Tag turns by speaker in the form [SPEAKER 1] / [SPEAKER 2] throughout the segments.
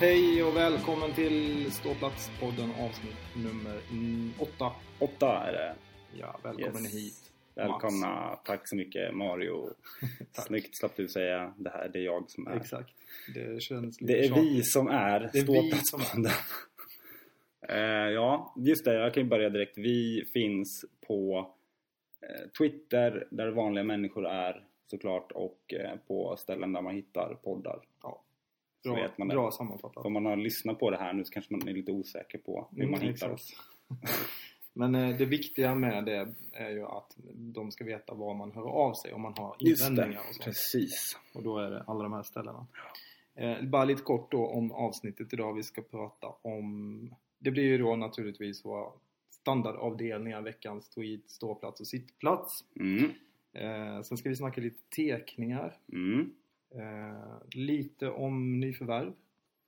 [SPEAKER 1] Hej och välkommen till Ståplatspodden avsnitt nummer mm, åtta.
[SPEAKER 2] Åtta är det.
[SPEAKER 1] Ja, välkommen
[SPEAKER 2] Yes.
[SPEAKER 1] hit.
[SPEAKER 2] Välkomna. Tack så mycket Mario.
[SPEAKER 1] Tack.
[SPEAKER 2] Snyggt slapp du säga. Det här det är jag som är.
[SPEAKER 1] Exakt. Det känns lite
[SPEAKER 2] Det är
[SPEAKER 1] tjatigt.
[SPEAKER 2] vi som är
[SPEAKER 1] Det är vi som är.
[SPEAKER 2] Ståplatsbanden. Eh, ja, just det. Jag kan ju börja direkt. Vi finns på eh, Twitter där vanliga människor är såklart och eh, på ställen där man hittar poddar.
[SPEAKER 1] Ja.
[SPEAKER 2] Så
[SPEAKER 1] Bra,
[SPEAKER 2] vet man det.
[SPEAKER 1] bra sammanfattat.
[SPEAKER 2] Om man har lyssnat på det här nu så kanske man är lite osäker på hur
[SPEAKER 1] Mm,
[SPEAKER 2] man hittar
[SPEAKER 1] exakt.
[SPEAKER 2] oss.
[SPEAKER 1] Men eh, det viktiga med det är ju att de ska veta var man hör av sig om man har
[SPEAKER 2] Just det,
[SPEAKER 1] invändningar och sånt.
[SPEAKER 2] precis.
[SPEAKER 1] Och då är det alla de här ställena. Eh, bara lite kort då om avsnittet idag. Vi ska prata om... Det blir ju då naturligtvis våra standardavdelningar, veckans tweet, ståplats och sittplats.
[SPEAKER 2] Mm,
[SPEAKER 1] Eh, sen ska vi snacka lite teckningar.
[SPEAKER 2] mm,
[SPEAKER 1] Eh, lite om nyförvärv.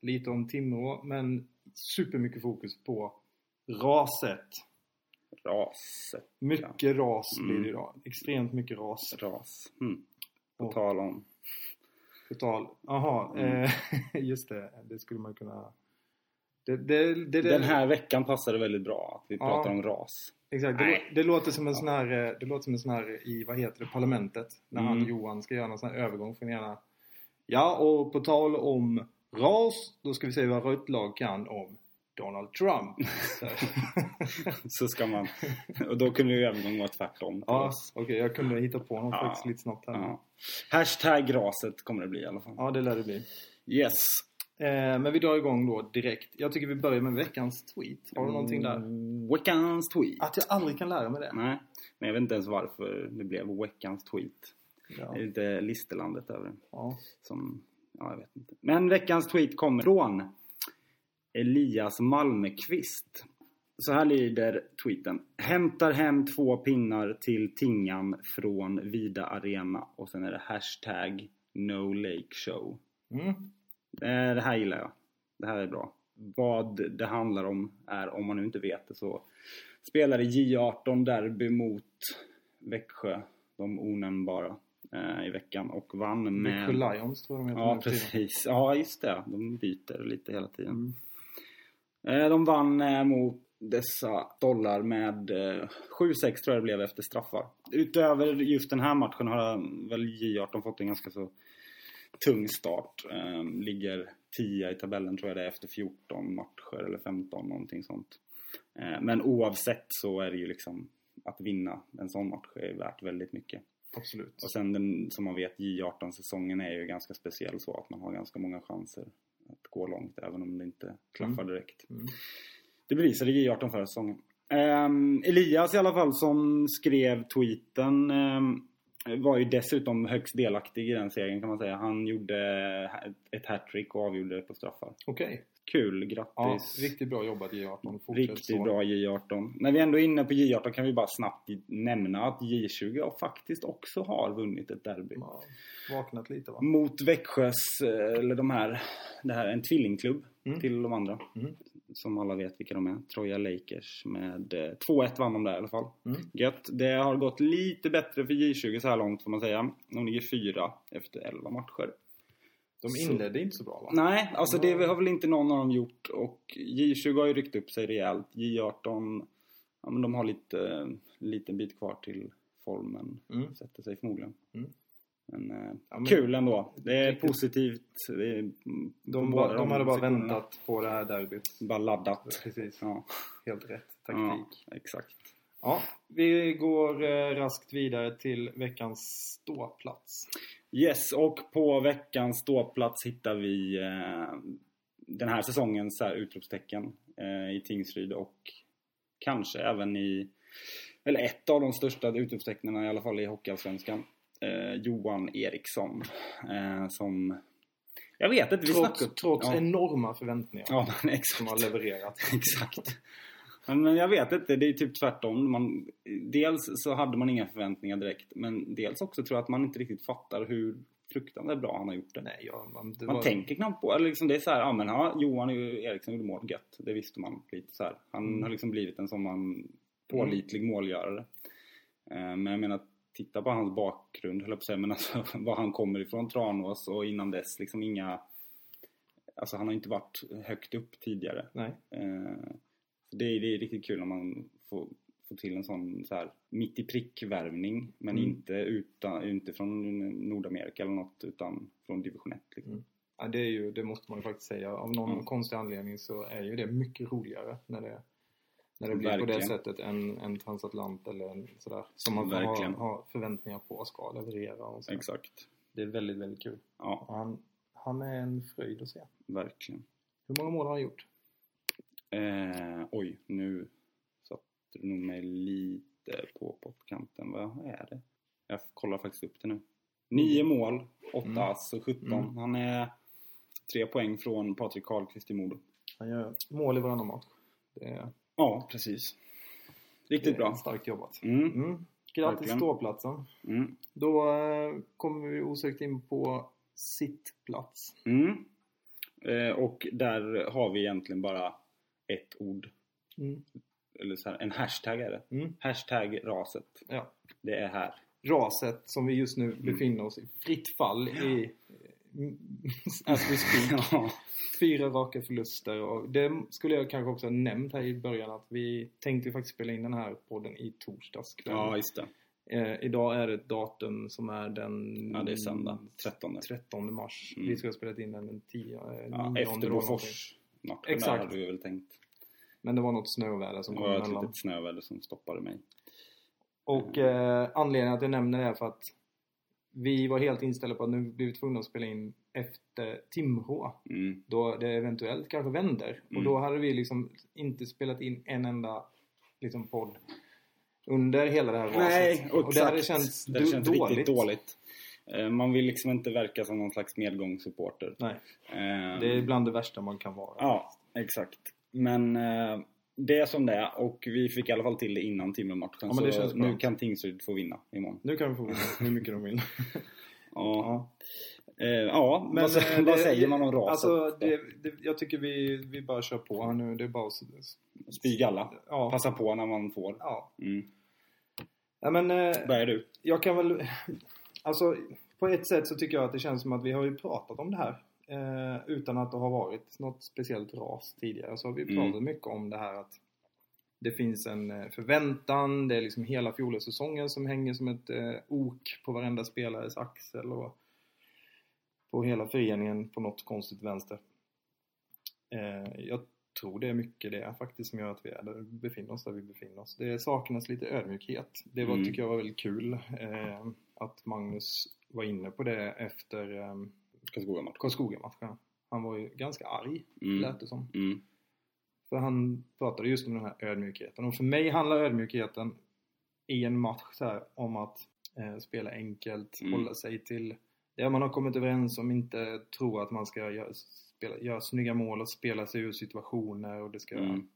[SPEAKER 1] Lite om Timrå. Men supermycket fokus på raset.
[SPEAKER 2] raset.
[SPEAKER 1] Mycket ras blir det
[SPEAKER 2] Mm.
[SPEAKER 1] idag. Extremt mycket ras.
[SPEAKER 2] Ras. Mm. På
[SPEAKER 1] Och-
[SPEAKER 2] tal om.
[SPEAKER 1] På tal... Jaha,
[SPEAKER 2] Mm.
[SPEAKER 1] eh, just det. Det skulle man kunna... Det, det, det, det,
[SPEAKER 2] Den här veckan passade väldigt bra att vi pratar om ras.
[SPEAKER 1] Exakt, det,
[SPEAKER 2] Nej.
[SPEAKER 1] det låter som en sån här, eh, det låter som en sån här i, vad heter det, Parlamentet. När han
[SPEAKER 2] Mm.
[SPEAKER 1] Johan ska göra någon sån här övergång från ena. Ja, och på tal om ras, då ska vi se vad rött lag kan om Donald Trump. Så-
[SPEAKER 2] Så ska man... Och då kunde ju övergången vara tvärtom. till
[SPEAKER 1] ja,
[SPEAKER 2] oss.
[SPEAKER 1] okej, jag kunde hitta på något
[SPEAKER 2] Ja.
[SPEAKER 1] faktiskt lite snabbt här. Ja.
[SPEAKER 2] Ja. Hashtag raset kommer det bli i alla fall.
[SPEAKER 1] det lär det bli.
[SPEAKER 2] Yes.
[SPEAKER 1] Eh, men vi drar igång då direkt. Jag tycker vi börjar med veckans tweet. Har du någonting där? Ah.
[SPEAKER 2] Mm, Veckans tweet.
[SPEAKER 1] Att jag aldrig kan lära mig det.
[SPEAKER 2] Nej. Men jag vet inte ens varför det blev veckans tweet.
[SPEAKER 1] Ja.
[SPEAKER 2] Det är lite listerlandet över det.
[SPEAKER 1] Ja.
[SPEAKER 2] Som, ja, jag vet inte. Men veckans tweet kommer från Elias Malmqvist. Så här lyder tweeten. Hämtar hem två pinnar till Tingan från Vida Arena och sen är det hashtag No Lake Show.
[SPEAKER 1] Mm.
[SPEAKER 2] Eh, Det här gillar jag. Det här är bra. Vad det handlar om är, om man nu inte vet det, så spelade J18 derby mot Växjö, de onämnbara, eh, i veckan och vann med...
[SPEAKER 1] Mycket Lions tror jag de heter
[SPEAKER 2] Ja,
[SPEAKER 1] nu för tiden.
[SPEAKER 2] precis. Ja, just det. De byter lite hela tiden.
[SPEAKER 1] Mm.
[SPEAKER 2] Eh, De vann eh, mot dessa dollar med eh, 7-6 tror jag det blev efter straffar. Utöver just den här matchen har eh, väl J18 fått en ganska så tung start. Eh, Ligger 10 i tabellen tror jag det är efter 14 matcher eller 15 någonting sånt. Eh, Men oavsett så är det ju liksom att vinna en sån match är värt väldigt mycket.
[SPEAKER 1] Absolut.
[SPEAKER 2] Och sen den, som man vet, J18-säsongen är ju ganska speciell så att man har ganska många chanser att gå långt även om det inte klaffar direkt.
[SPEAKER 1] Mm.
[SPEAKER 2] Det bevisade J18 förra säsongen. Ehm, Elias i alla fall som skrev tweeten ehm, var ju dessutom högst delaktig i den segern kan man säga. Han gjorde ett- ett hattrick och avgjorde på straffar.
[SPEAKER 1] Okej.
[SPEAKER 2] Kul,
[SPEAKER 1] Ja,
[SPEAKER 2] grattis!
[SPEAKER 1] riktigt bra jobbat J18. Fortsätt
[SPEAKER 2] Riktigt
[SPEAKER 1] så.
[SPEAKER 2] bra J18. När vi ändå är inne på J18 kan vi bara snabbt nämna att J20 faktiskt också har vunnit ett derby.
[SPEAKER 1] Ja, vaknat lite va?
[SPEAKER 2] mot Växjös, eh, eller de här, det här är en tvillingklubb
[SPEAKER 1] Mm.
[SPEAKER 2] till de andra.
[SPEAKER 1] Mm.
[SPEAKER 2] Som alla vet vilka de är. Troja Lakers med eh, 2-1 vann de där i alla fall.
[SPEAKER 1] Mm.
[SPEAKER 2] Gött. Det har gått lite bättre för J20 så här långt får man säga. De ligger fyra efter 11 matcher.
[SPEAKER 1] De
[SPEAKER 2] Så-
[SPEAKER 1] inledde inte så bra va?
[SPEAKER 2] Nej, alltså det har väl inte någon av dem gjort och J20 har ju ryckt upp sig rejält. J18, ja men de har lite, liten bit kvar till formen.
[SPEAKER 1] Mm.
[SPEAKER 2] Sätter sig förmodligen.
[SPEAKER 1] Mm.
[SPEAKER 2] Men, eh,
[SPEAKER 1] Ja, men-
[SPEAKER 2] kul ändå. Det är
[SPEAKER 1] Riktigt.
[SPEAKER 2] positivt. Det är mm,
[SPEAKER 1] De,
[SPEAKER 2] på
[SPEAKER 1] bara,
[SPEAKER 2] båda
[SPEAKER 1] de hade bara
[SPEAKER 2] sektionerna.
[SPEAKER 1] väntat på det här derbyt.
[SPEAKER 2] Bara laddat.
[SPEAKER 1] Precis,
[SPEAKER 2] Ja,
[SPEAKER 1] helt rätt
[SPEAKER 2] ja
[SPEAKER 1] taktik. Ja.
[SPEAKER 2] exakt.
[SPEAKER 1] vi går eh, raskt vidare till veckans ståplats.
[SPEAKER 2] Yes, och på veckans ståplats hittar vi eh, den här säsongens så här utropstecken eh, i Tingsryd och kanske även i, eller ett av de största utropstecknen i alla fall i Hockeyallsvenskan. Eh, Johan Eriksson eh, som, jag vet inte, vi
[SPEAKER 1] Trots,
[SPEAKER 2] snackar-
[SPEAKER 1] trots
[SPEAKER 2] ja,
[SPEAKER 1] enorma förväntningar
[SPEAKER 2] ja,
[SPEAKER 1] som
[SPEAKER 2] men exakt.
[SPEAKER 1] har levererat.
[SPEAKER 2] Exakt. Men men jag vet inte, det är typ tvärtom. Man, dels så hade man inga förväntningar direkt, men dels också tror jag att man inte riktigt fattar hur fruktansvärt bra han har gjort det.
[SPEAKER 1] Nej, ja, man, det
[SPEAKER 2] man
[SPEAKER 1] var,
[SPEAKER 2] tänker knappt på eller liksom det. är så här, ja men ja, Johan Eriksson gjorde mål, gött. Det visste man lite så här. Han
[SPEAKER 1] Mm.
[SPEAKER 2] har liksom blivit en sån man pålitlig målgörare. Eh, Men jag menar, titta på hans bakgrund, höll jag på att säga, men alltså var han kommer ifrån, Tranås och innan dess liksom inga Alltså han har inte varit högt upp tidigare.
[SPEAKER 1] Nej.
[SPEAKER 2] Eh, så det, är, det är riktigt kul om man får, får till en sån så här mitt i prick-värvning. Men
[SPEAKER 1] Mm.
[SPEAKER 2] inte, utan, inte från Nordamerika eller något utan från division 1. Liksom.
[SPEAKER 1] Ja, det, är ju, det måste man ju faktiskt säga. Av någon
[SPEAKER 2] Mm.
[SPEAKER 1] konstig anledning så är ju det mycket roligare när det, när det blir på det
[SPEAKER 2] Verkligen.
[SPEAKER 1] sättet än en transatlant eller en sådär. Som man
[SPEAKER 2] Verkligen.
[SPEAKER 1] har, har förväntningar på och ska leverera. Och sådär.
[SPEAKER 2] Exakt.
[SPEAKER 1] det är väldigt, väldigt kul.
[SPEAKER 2] Ja,
[SPEAKER 1] Och Han, han är en fröjd att se.
[SPEAKER 2] verkligen.
[SPEAKER 1] Hur många mål har han gjort?
[SPEAKER 2] Eh, oj, nu satte du nog mig lite på pottkanten. Vad är det? Jag kollar faktiskt upp det nu. Nio mål, åtta
[SPEAKER 1] Mm.
[SPEAKER 2] ass och 17.
[SPEAKER 1] Mm.
[SPEAKER 2] Han är tre poäng från Patrik Karlqvist i Modo.
[SPEAKER 1] Han gör mål i varannan match. Det är,
[SPEAKER 2] Ja, precis.
[SPEAKER 1] det
[SPEAKER 2] Riktigt
[SPEAKER 1] är
[SPEAKER 2] bra.
[SPEAKER 1] starkt jobbat.
[SPEAKER 2] Mm.
[SPEAKER 1] Mm. Grattis
[SPEAKER 2] Verkligen.
[SPEAKER 1] ståplatsen.
[SPEAKER 2] Mm.
[SPEAKER 1] Då eh, kommer vi osökt in på sittplats.
[SPEAKER 2] Mm. Eh, och där har vi egentligen bara ett ord.
[SPEAKER 1] Mm.
[SPEAKER 2] Eller så här, en hashtag är det.
[SPEAKER 1] Mm.
[SPEAKER 2] Hashtag raset.
[SPEAKER 1] Ja.
[SPEAKER 2] Det är här.
[SPEAKER 1] raset som vi just
[SPEAKER 2] Mm.
[SPEAKER 1] nu befinner oss i. Fritt fall i... eh, As we speak.
[SPEAKER 2] ja.
[SPEAKER 1] Fyra raka förluster och det skulle jag kanske också ha nämnt här i början att vi tänkte ju faktiskt spela in den här podden i torsdags kväll.
[SPEAKER 2] ja, just det.
[SPEAKER 1] eh, idag är det ett datum som är den...
[SPEAKER 2] Ja, det är söndag.
[SPEAKER 1] Mm.
[SPEAKER 2] 13.
[SPEAKER 1] 13 mars.
[SPEAKER 2] Mm.
[SPEAKER 1] Vi skulle ha spelat in den eh, den 10...
[SPEAKER 2] Ja, efter Bofors-matchen där
[SPEAKER 1] Exakt.
[SPEAKER 2] hade vi väl tänkt.
[SPEAKER 1] Men det var något snöväder
[SPEAKER 2] Det
[SPEAKER 1] som kom
[SPEAKER 2] var ett
[SPEAKER 1] emellan.
[SPEAKER 2] litet snöväder som stoppade mig.
[SPEAKER 1] Och eh, anledningen att jag nämner det är för att vi var helt inställda på att nu blir vi tvungna att spela in efter Timrå.
[SPEAKER 2] Mm.
[SPEAKER 1] Då det eventuellt kanske vänder.
[SPEAKER 2] Mm.
[SPEAKER 1] Och då hade vi liksom inte spelat in en enda liksom, podd under hela det här raset.
[SPEAKER 2] Nej,
[SPEAKER 1] och det hade
[SPEAKER 2] exakt.
[SPEAKER 1] känts,
[SPEAKER 2] Det
[SPEAKER 1] du-
[SPEAKER 2] känns
[SPEAKER 1] dåligt.
[SPEAKER 2] riktigt dåligt. Eh, Man vill liksom inte verka som någon slags medgångssupporter.
[SPEAKER 1] Nej,
[SPEAKER 2] Eh,
[SPEAKER 1] det är bland det värsta man kan vara.
[SPEAKER 2] Ja, exakt. Men eh, det är som det är och vi fick i alla fall till det innan Timmermatchen.
[SPEAKER 1] Ja, men det
[SPEAKER 2] så
[SPEAKER 1] känns bra.
[SPEAKER 2] nu kan Tingsryd få vinna imorgon.
[SPEAKER 1] Nu kan vi få vinna hur mycket de vill.
[SPEAKER 2] Ja, ja. Eh, ja men vad,
[SPEAKER 1] eh,
[SPEAKER 2] sä-
[SPEAKER 1] det-
[SPEAKER 2] vad säger man om raset?
[SPEAKER 1] Alltså, det, det, jag tycker vi, vi bara kör på här nu. Det är bara att...
[SPEAKER 2] Spy galla.
[SPEAKER 1] Ja.
[SPEAKER 2] Passa på när man får.
[SPEAKER 1] ja.
[SPEAKER 2] Mm.
[SPEAKER 1] ja men, eh,
[SPEAKER 2] Börjar du?
[SPEAKER 1] jag kan väl... Alltså, på ett sätt så tycker jag att det känns som att vi har ju pratat om det här. Eh, utan att det har varit något speciellt ras tidigare så har vi pratat
[SPEAKER 2] Mm.
[SPEAKER 1] mycket om det här att det finns en eh, förväntan, det är liksom hela fjolårssäsongen som hänger som ett eh, ok på varenda spelares axel och på hela föreningen på något konstigt vänster. Eh, jag tror det är mycket det faktiskt som gör att vi är där, befinner oss där vi befinner oss. Det saknas lite ödmjukhet. Det var,
[SPEAKER 2] Mm.
[SPEAKER 1] tycker jag var väldigt kul eh, att Magnus var inne på det efter eh,
[SPEAKER 2] Karlskoga-match.
[SPEAKER 1] Karlskoga-matchen. Han var ju ganska arg,
[SPEAKER 2] Mm.
[SPEAKER 1] lät det som.
[SPEAKER 2] Mm.
[SPEAKER 1] För han pratade just om den här ödmjukheten. Och för mig handlar ödmjukheten i en match så här, om att eh, spela enkelt,
[SPEAKER 2] Mm.
[SPEAKER 1] hålla sig till det man har kommit överens om, inte tro att man ska göra, spela, göra snygga mål och spela sig ur situationer och det ska
[SPEAKER 2] Mm.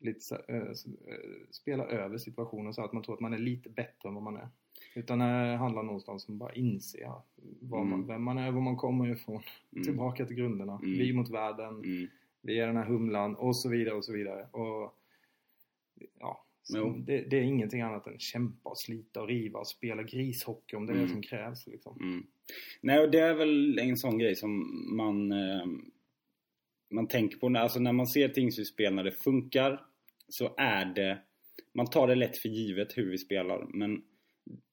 [SPEAKER 1] lite så här, eh, s- eh, spela över situationen så att man tror att man är lite bättre än vad man är. Utan det handlar någonstans om att bara inse vad man,
[SPEAKER 2] Mm.
[SPEAKER 1] vem man är, var man kommer ifrån,
[SPEAKER 2] Mm.
[SPEAKER 1] tillbaka till grunderna.
[SPEAKER 2] Mm.
[SPEAKER 1] Vi mot världen,
[SPEAKER 2] Mm.
[SPEAKER 1] vi är den här humlan och så vidare och så vidare. Och, ja, så
[SPEAKER 2] Jo.
[SPEAKER 1] det, det är ingenting annat än kämpa och slita och riva och spela grishockey om det är
[SPEAKER 2] Mm.
[SPEAKER 1] det som krävs. Liksom.
[SPEAKER 2] Mm. Nej, och det är väl en sån grej som man, eh, man tänker på. När, alltså när man ser Tingsrydsspel när det funkar så är det... Man tar det lätt för givet hur vi spelar men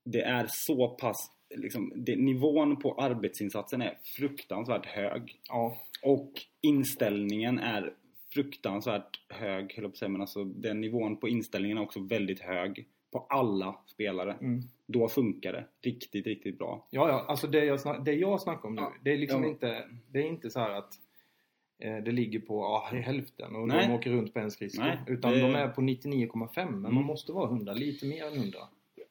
[SPEAKER 2] det är så pass... Liksom, det, nivån på arbetsinsatsen är fruktansvärt hög.
[SPEAKER 1] Ja,
[SPEAKER 2] Och inställningen är fruktansvärt hög, höll jag på att säga, men alltså den nivån på inställningen är också väldigt hög. På alla spelare.
[SPEAKER 1] mm.
[SPEAKER 2] Då funkar det riktigt, riktigt bra.
[SPEAKER 1] ja, ja alltså det jag, snack, det jag snackar om nu,
[SPEAKER 2] Ja.
[SPEAKER 1] det är liksom
[SPEAKER 2] Ja.
[SPEAKER 1] inte, det är inte så här att eh, det ligger på ah, hälften och
[SPEAKER 2] Nej.
[SPEAKER 1] de åker runt på en skridsko.
[SPEAKER 2] Nej,
[SPEAKER 1] Utan
[SPEAKER 2] det-
[SPEAKER 1] de är på 99,5 men
[SPEAKER 2] Mm.
[SPEAKER 1] man måste vara 100, lite mer än 100.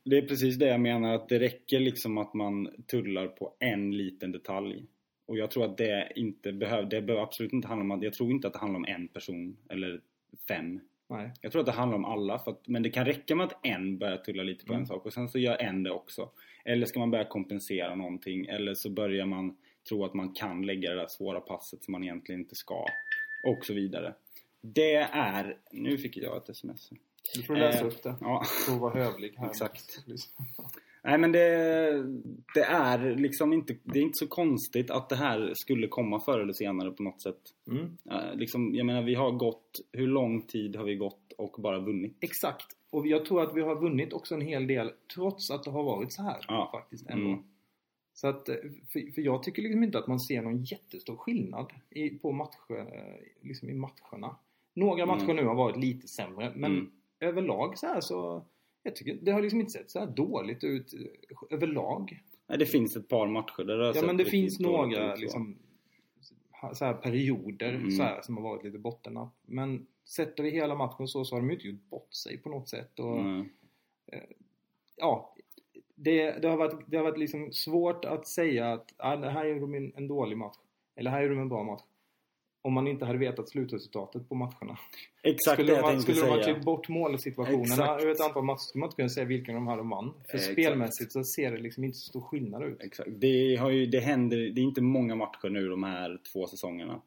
[SPEAKER 2] Det är precis det jag menar, att det räcker liksom att man tullar på en liten detalj. Och jag tror att det inte behöver, det behöver absolut inte handla om att, jag tror inte att det handlar om en person eller fem.
[SPEAKER 1] Nej.
[SPEAKER 2] Jag tror att det handlar om alla, för att, men det kan räcka med att en börjar tulla lite på
[SPEAKER 1] Mm.
[SPEAKER 2] en sak och sen så gör en det också. Eller ska man börja kompensera någonting eller så börjar man tro att man kan lägga det där svåra passet som man egentligen inte ska. Och så vidare. Det är... Nu fick jag ett sms.
[SPEAKER 1] Du får läsa
[SPEAKER 2] Eh,
[SPEAKER 1] upp det.
[SPEAKER 2] Ja.
[SPEAKER 1] För att vara hövlig här.
[SPEAKER 2] Exakt. Nej men det, det är liksom inte, det är inte så konstigt att det här skulle komma förr eller senare på något sätt.
[SPEAKER 1] Mm.
[SPEAKER 2] Eh, Liksom, jag menar vi har gått, hur lång tid har vi gått och bara vunnit?
[SPEAKER 1] Exakt. Och jag tror att vi har vunnit också en hel del trots att det har varit så här
[SPEAKER 2] Ja.
[SPEAKER 1] faktiskt ändå.
[SPEAKER 2] Mm.
[SPEAKER 1] Så att, eh, för, för jag tycker liksom inte att man ser någon jättestor skillnad i, på matcher, eh, liksom i matcherna. Några
[SPEAKER 2] Mm.
[SPEAKER 1] matcher nu har varit lite sämre men
[SPEAKER 2] Mm.
[SPEAKER 1] överlag så här så jag tycker, det har liksom inte sett så här dåligt ut eh, överlag.
[SPEAKER 2] Nej, det finns ett par matcher där det har
[SPEAKER 1] Ja
[SPEAKER 2] sett
[SPEAKER 1] men det
[SPEAKER 2] riktigt
[SPEAKER 1] finns
[SPEAKER 2] dåligt
[SPEAKER 1] några
[SPEAKER 2] ut, så.
[SPEAKER 1] liksom, ha- så här perioder
[SPEAKER 2] Mm.
[SPEAKER 1] så här, som har varit lite bottennapp. Men sätter vi hela matchen så, så har de ju inte gjort bort sig på något sätt. Och,
[SPEAKER 2] Nej.
[SPEAKER 1] ja, det, det har varit, det har varit liksom svårt att säga att ah, det här gjorde de en, en dålig match. Eller här gjorde de en bra match. Om man inte hade vetat slutresultatet på matcherna.
[SPEAKER 2] Exakt
[SPEAKER 1] skulle
[SPEAKER 2] det
[SPEAKER 1] de,
[SPEAKER 2] jag
[SPEAKER 1] ha-
[SPEAKER 2] tänkte
[SPEAKER 1] skulle typ de ha
[SPEAKER 2] säga.
[SPEAKER 1] klippt bort målsituationerna
[SPEAKER 2] Exakt.
[SPEAKER 1] över ett antal matcher skulle man inte kunna säga vilken de hade vann. För
[SPEAKER 2] Exakt.
[SPEAKER 1] spelmässigt så ser det liksom inte så stor skillnad ut.
[SPEAKER 2] Exakt. Det, har ju, det händer, det är inte många matcher nu de här två säsongerna.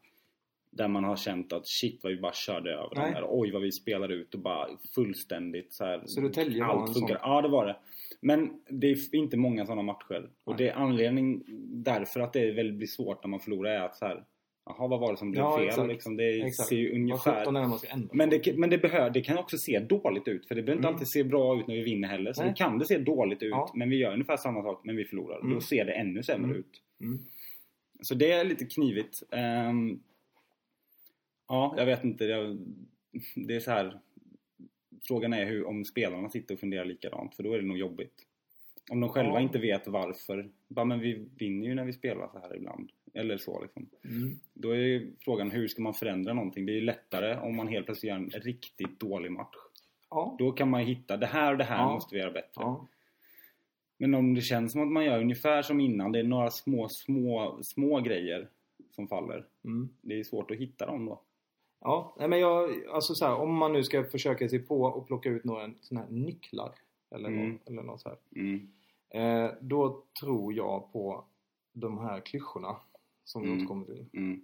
[SPEAKER 2] Där man har känt att shit vad vi bara körde över dem
[SPEAKER 1] Nej.
[SPEAKER 2] här. Oj vad vi spelade ut och bara fullständigt så här.
[SPEAKER 1] Södertälje var en
[SPEAKER 2] allt
[SPEAKER 1] sån.
[SPEAKER 2] funkar. Ja det var det. Men det är f- inte många sådana matcher. Och
[SPEAKER 1] Nej.
[SPEAKER 2] det är anledning därför att det är väldigt blir svårt när man förlorar är att så här. Jaha vad var det som blev
[SPEAKER 1] Ja,
[SPEAKER 2] fel?
[SPEAKER 1] exakt.
[SPEAKER 2] Liksom, det är-
[SPEAKER 1] Exakt.
[SPEAKER 2] ser ju
[SPEAKER 1] Vad
[SPEAKER 2] ungefär
[SPEAKER 1] sjutton är det man ska ändra
[SPEAKER 2] men
[SPEAKER 1] på?
[SPEAKER 2] det, men det, behör, det kan också se dåligt ut för det behöver inte
[SPEAKER 1] Mm.
[SPEAKER 2] alltid se bra ut när vi vinner heller. Så
[SPEAKER 1] Nej.
[SPEAKER 2] det kan det se dåligt ut
[SPEAKER 1] Ja.
[SPEAKER 2] men vi gör ungefär samma sak men vi förlorar.
[SPEAKER 1] Mm.
[SPEAKER 2] Då ser det ännu sämre
[SPEAKER 1] Mm.
[SPEAKER 2] ut.
[SPEAKER 1] Mm.
[SPEAKER 2] Så det är lite knivigt. Ehm, ja, jag vet inte. Jag, det är så här. Frågan är hur, om spelarna sitter och funderar likadant för då är det nog jobbigt. Om de själva
[SPEAKER 1] Ja.
[SPEAKER 2] inte vet varför. Bara, men vi vinner ju när vi spelar så här ibland. Eller så liksom.
[SPEAKER 1] Mm.
[SPEAKER 2] Då är ju frågan hur ska man förändra någonting? Det är ju lättare om man helt plötsligt gör en riktigt dålig match.
[SPEAKER 1] Ja.
[SPEAKER 2] Då kan man ju hitta det här och det här
[SPEAKER 1] Ja.
[SPEAKER 2] måste vi göra bättre.
[SPEAKER 1] ja.
[SPEAKER 2] Men om det känns som att man gör ungefär som innan, det är några små, små, små grejer som faller.
[SPEAKER 1] Mm.
[SPEAKER 2] Det är svårt att hitta dem då.
[SPEAKER 1] Ja, nej, men jag, alltså så här, om man nu ska försöka sig på och plocka ut några sådana här nycklar eller,
[SPEAKER 2] Mm.
[SPEAKER 1] något, eller något så här.
[SPEAKER 2] Mm.
[SPEAKER 1] Eh, då tror jag på de här klyschorna som vi
[SPEAKER 2] Mm.
[SPEAKER 1] återkommer till.
[SPEAKER 2] Mm.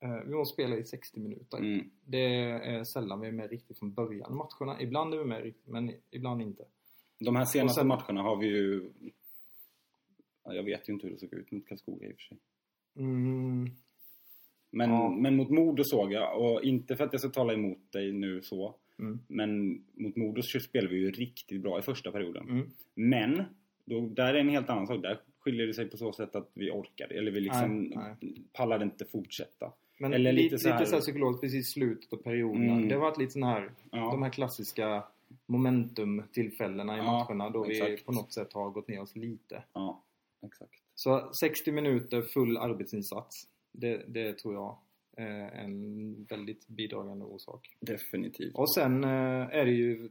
[SPEAKER 1] Eh, vi måste spela i 60 minuter.
[SPEAKER 2] Mm.
[SPEAKER 1] Det är sällan vi är med riktigt från början i matcherna. Ibland är vi med riktigt, men ibland inte.
[SPEAKER 2] De här senaste
[SPEAKER 1] Och sen-
[SPEAKER 2] matcherna har vi ju... Ja, jag vet ju inte hur det såg ut mot Karlskoga i och för sig.
[SPEAKER 1] Mm,
[SPEAKER 2] Men,
[SPEAKER 1] Ja.
[SPEAKER 2] men mot Modo såg jag, och inte för att jag ska tala emot dig nu så.
[SPEAKER 1] mm,
[SPEAKER 2] Men mot Modo så spelade vi ju riktigt bra i första perioden.
[SPEAKER 1] mm.
[SPEAKER 2] Men, då, där är en helt annan sak. Där skiljer det sig på så sätt att vi orkade. Eller vi liksom
[SPEAKER 1] Nej,
[SPEAKER 2] pallade inte fortsätta.
[SPEAKER 1] Men
[SPEAKER 2] Eller
[SPEAKER 1] lite,
[SPEAKER 2] lite
[SPEAKER 1] lite
[SPEAKER 2] så här-
[SPEAKER 1] så här psykologiskt precis i slutet av perioden.
[SPEAKER 2] Mm.
[SPEAKER 1] Det har varit lite sån här
[SPEAKER 2] Ja,
[SPEAKER 1] de här klassiska momentum-tillfällena i
[SPEAKER 2] Ja,
[SPEAKER 1] matcherna då vi
[SPEAKER 2] exakt.
[SPEAKER 1] på något sätt har gått ner oss lite.
[SPEAKER 2] ja exakt.
[SPEAKER 1] Så 60 minuter full arbetsinsats, det, det tror jag är en väldigt bidragande orsak.
[SPEAKER 2] Definitivt.
[SPEAKER 1] Och sen eh, är det ju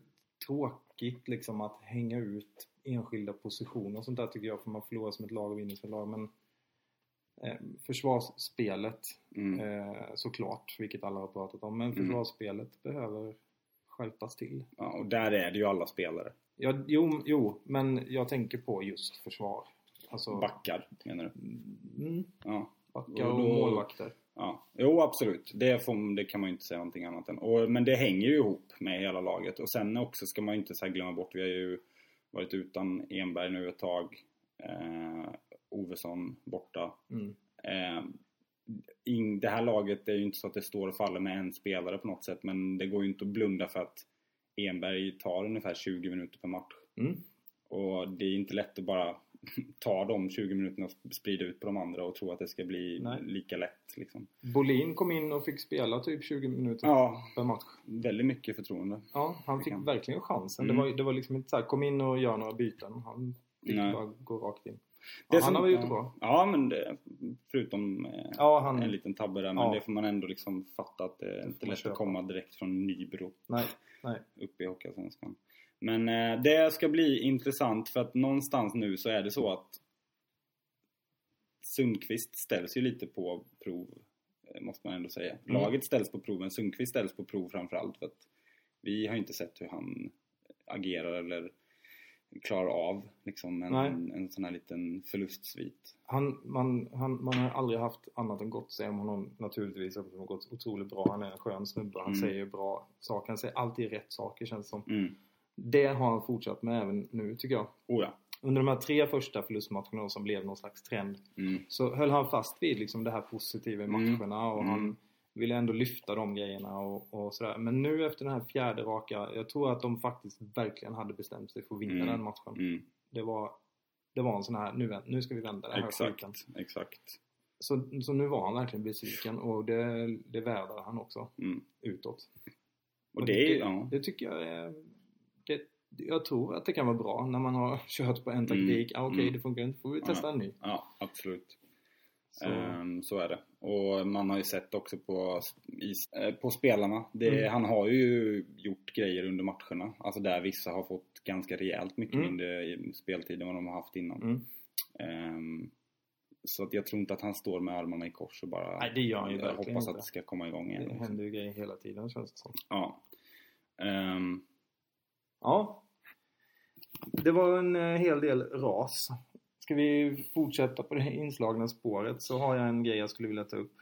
[SPEAKER 1] tråkigt liksom att hänga ut enskilda positioner och sånt där tycker jag för man förlorar som ett lag och vinner som ett lag men eh, försvarsspelet
[SPEAKER 2] Mm.
[SPEAKER 1] eh, såklart, vilket alla har pratat om, men
[SPEAKER 2] Mm.
[SPEAKER 1] försvarsspelet behöver skärpas till.
[SPEAKER 2] Ja, och där är det ju alla spelare.
[SPEAKER 1] Ja, jo, jo, men jag tänker på just försvar. Alltså,
[SPEAKER 2] Backar, menar du?
[SPEAKER 1] mm,
[SPEAKER 2] Ja.
[SPEAKER 1] backar
[SPEAKER 2] Och
[SPEAKER 1] och
[SPEAKER 2] då-
[SPEAKER 1] målvakter.
[SPEAKER 2] ja. Jo, absolut. Det, får, det kan man ju inte säga någonting annat än. Och, men det hänger ju ihop med hela laget. Och sen också ska man ju inte så här glömma bort, vi har ju varit utan Enberg nu ett tag. Eh, Ovesson borta.
[SPEAKER 1] Mm.
[SPEAKER 2] Eh, in, det här laget är ju inte så att det står och faller med en spelare på något sätt men det går ju inte att blunda för att Enberg tar ungefär 20 minuter per match.
[SPEAKER 1] Mm.
[SPEAKER 2] Och det är inte lätt att bara ta de 20 minuterna och sprida ut på de andra och tro att det ska bli
[SPEAKER 1] Nej.
[SPEAKER 2] lika lätt. Liksom.
[SPEAKER 1] Bolin kom in och fick spela typ 20 minuter
[SPEAKER 2] Ja,
[SPEAKER 1] per match.
[SPEAKER 2] väldigt mycket förtroende.
[SPEAKER 1] Ja, han fick
[SPEAKER 2] kan-
[SPEAKER 1] verkligen chansen.
[SPEAKER 2] Mm.
[SPEAKER 1] Det, var, det var liksom inte så här, kom in och gör några byten. Han fick
[SPEAKER 2] Nej.
[SPEAKER 1] Typ bara gå rakt in.
[SPEAKER 2] Det
[SPEAKER 1] Ja,
[SPEAKER 2] som-
[SPEAKER 1] han har varit ute
[SPEAKER 2] ja.
[SPEAKER 1] bra.
[SPEAKER 2] Ja, men det, förutom eh,
[SPEAKER 1] Ja, han...
[SPEAKER 2] en liten tabbe där, men
[SPEAKER 1] Mm. Ja.
[SPEAKER 2] det får man ändå liksom fatta att det är inte
[SPEAKER 1] man
[SPEAKER 2] lätt
[SPEAKER 1] köpa.
[SPEAKER 2] att komma direkt från Nybro.
[SPEAKER 1] Nej, nej.
[SPEAKER 2] uppe i Hockeyallsvenskan. Men eh, det ska bli intressant för att någonstans nu så är det så att Sundqvist ställs ju lite på prov, eh, måste man ändå säga. Laget ställs på prov, men Sundqvist ställs på prov framförallt för att vi har inte sett hur han agerar eller klarar av liksom en, en,
[SPEAKER 1] Nej.
[SPEAKER 2] sån här liten förlustsvit.
[SPEAKER 1] Han, man, han, man har aldrig haft annat än gott att säga om honom naturligtvis. eftersom Det har gått otroligt bra. Han är en skön snubbe. Han
[SPEAKER 2] Mm.
[SPEAKER 1] säger bra saker. Han säger alltid rätt saker känns det som.
[SPEAKER 2] Mm.
[SPEAKER 1] Det har han fortsatt med även nu tycker jag.
[SPEAKER 2] Oh ja.
[SPEAKER 1] under de här tre första förlustmatcherna då, som blev någon slags trend
[SPEAKER 2] Mm.
[SPEAKER 1] så höll han fast vid liksom det här positiva i
[SPEAKER 2] Mm.
[SPEAKER 1] matcherna och
[SPEAKER 2] Mm.
[SPEAKER 1] han ville ändå lyfta de grejerna och, och sådär. Men nu efter den här fjärde raka, jag tror att de faktiskt verkligen hade bestämt sig för att vinna
[SPEAKER 2] Mm.
[SPEAKER 1] den matchen.
[SPEAKER 2] Mm.
[SPEAKER 1] Det var, det var en sån här, nu, vä- nu ska vi vända den här
[SPEAKER 2] Exakt,
[SPEAKER 1] skiten.
[SPEAKER 2] exakt.
[SPEAKER 1] Så, så nu var han verkligen besviken och det, det vädrade han också
[SPEAKER 2] Mm.
[SPEAKER 1] utåt.
[SPEAKER 2] Och det är,
[SPEAKER 1] det,
[SPEAKER 2] ja.
[SPEAKER 1] det tycker jag är... Det, jag tror att det kan vara bra när man har kört på en taktik. Ah, Okej,
[SPEAKER 2] Mm.
[SPEAKER 1] det funkar inte. får vi testa en ny.
[SPEAKER 2] ja, absolut.
[SPEAKER 1] Så,
[SPEAKER 2] Ehm, så är det. Och man har ju sett också på, is, eh, på spelarna. Det,
[SPEAKER 1] Mm.
[SPEAKER 2] Han har ju gjort grejer under matcherna. Alltså där vissa har fått ganska rejält mycket
[SPEAKER 1] Mm.
[SPEAKER 2] mindre i- speltid än vad de har haft innan.
[SPEAKER 1] mm.
[SPEAKER 2] Ehm, så att jag tror inte att han står med armarna i kors och bara
[SPEAKER 1] Nej, det gör han ju
[SPEAKER 2] eh,
[SPEAKER 1] verkligen
[SPEAKER 2] hoppas att
[SPEAKER 1] inte.
[SPEAKER 2] det ska komma igång igen.
[SPEAKER 1] Det
[SPEAKER 2] liksom.
[SPEAKER 1] händer ju grejer hela tiden känns det som.
[SPEAKER 2] Ja. Ehm,
[SPEAKER 1] Ja. Det var en eh, hel del ras. Ska vi fortsätta på det inslagna spåret så har jag en grej jag skulle vilja ta upp.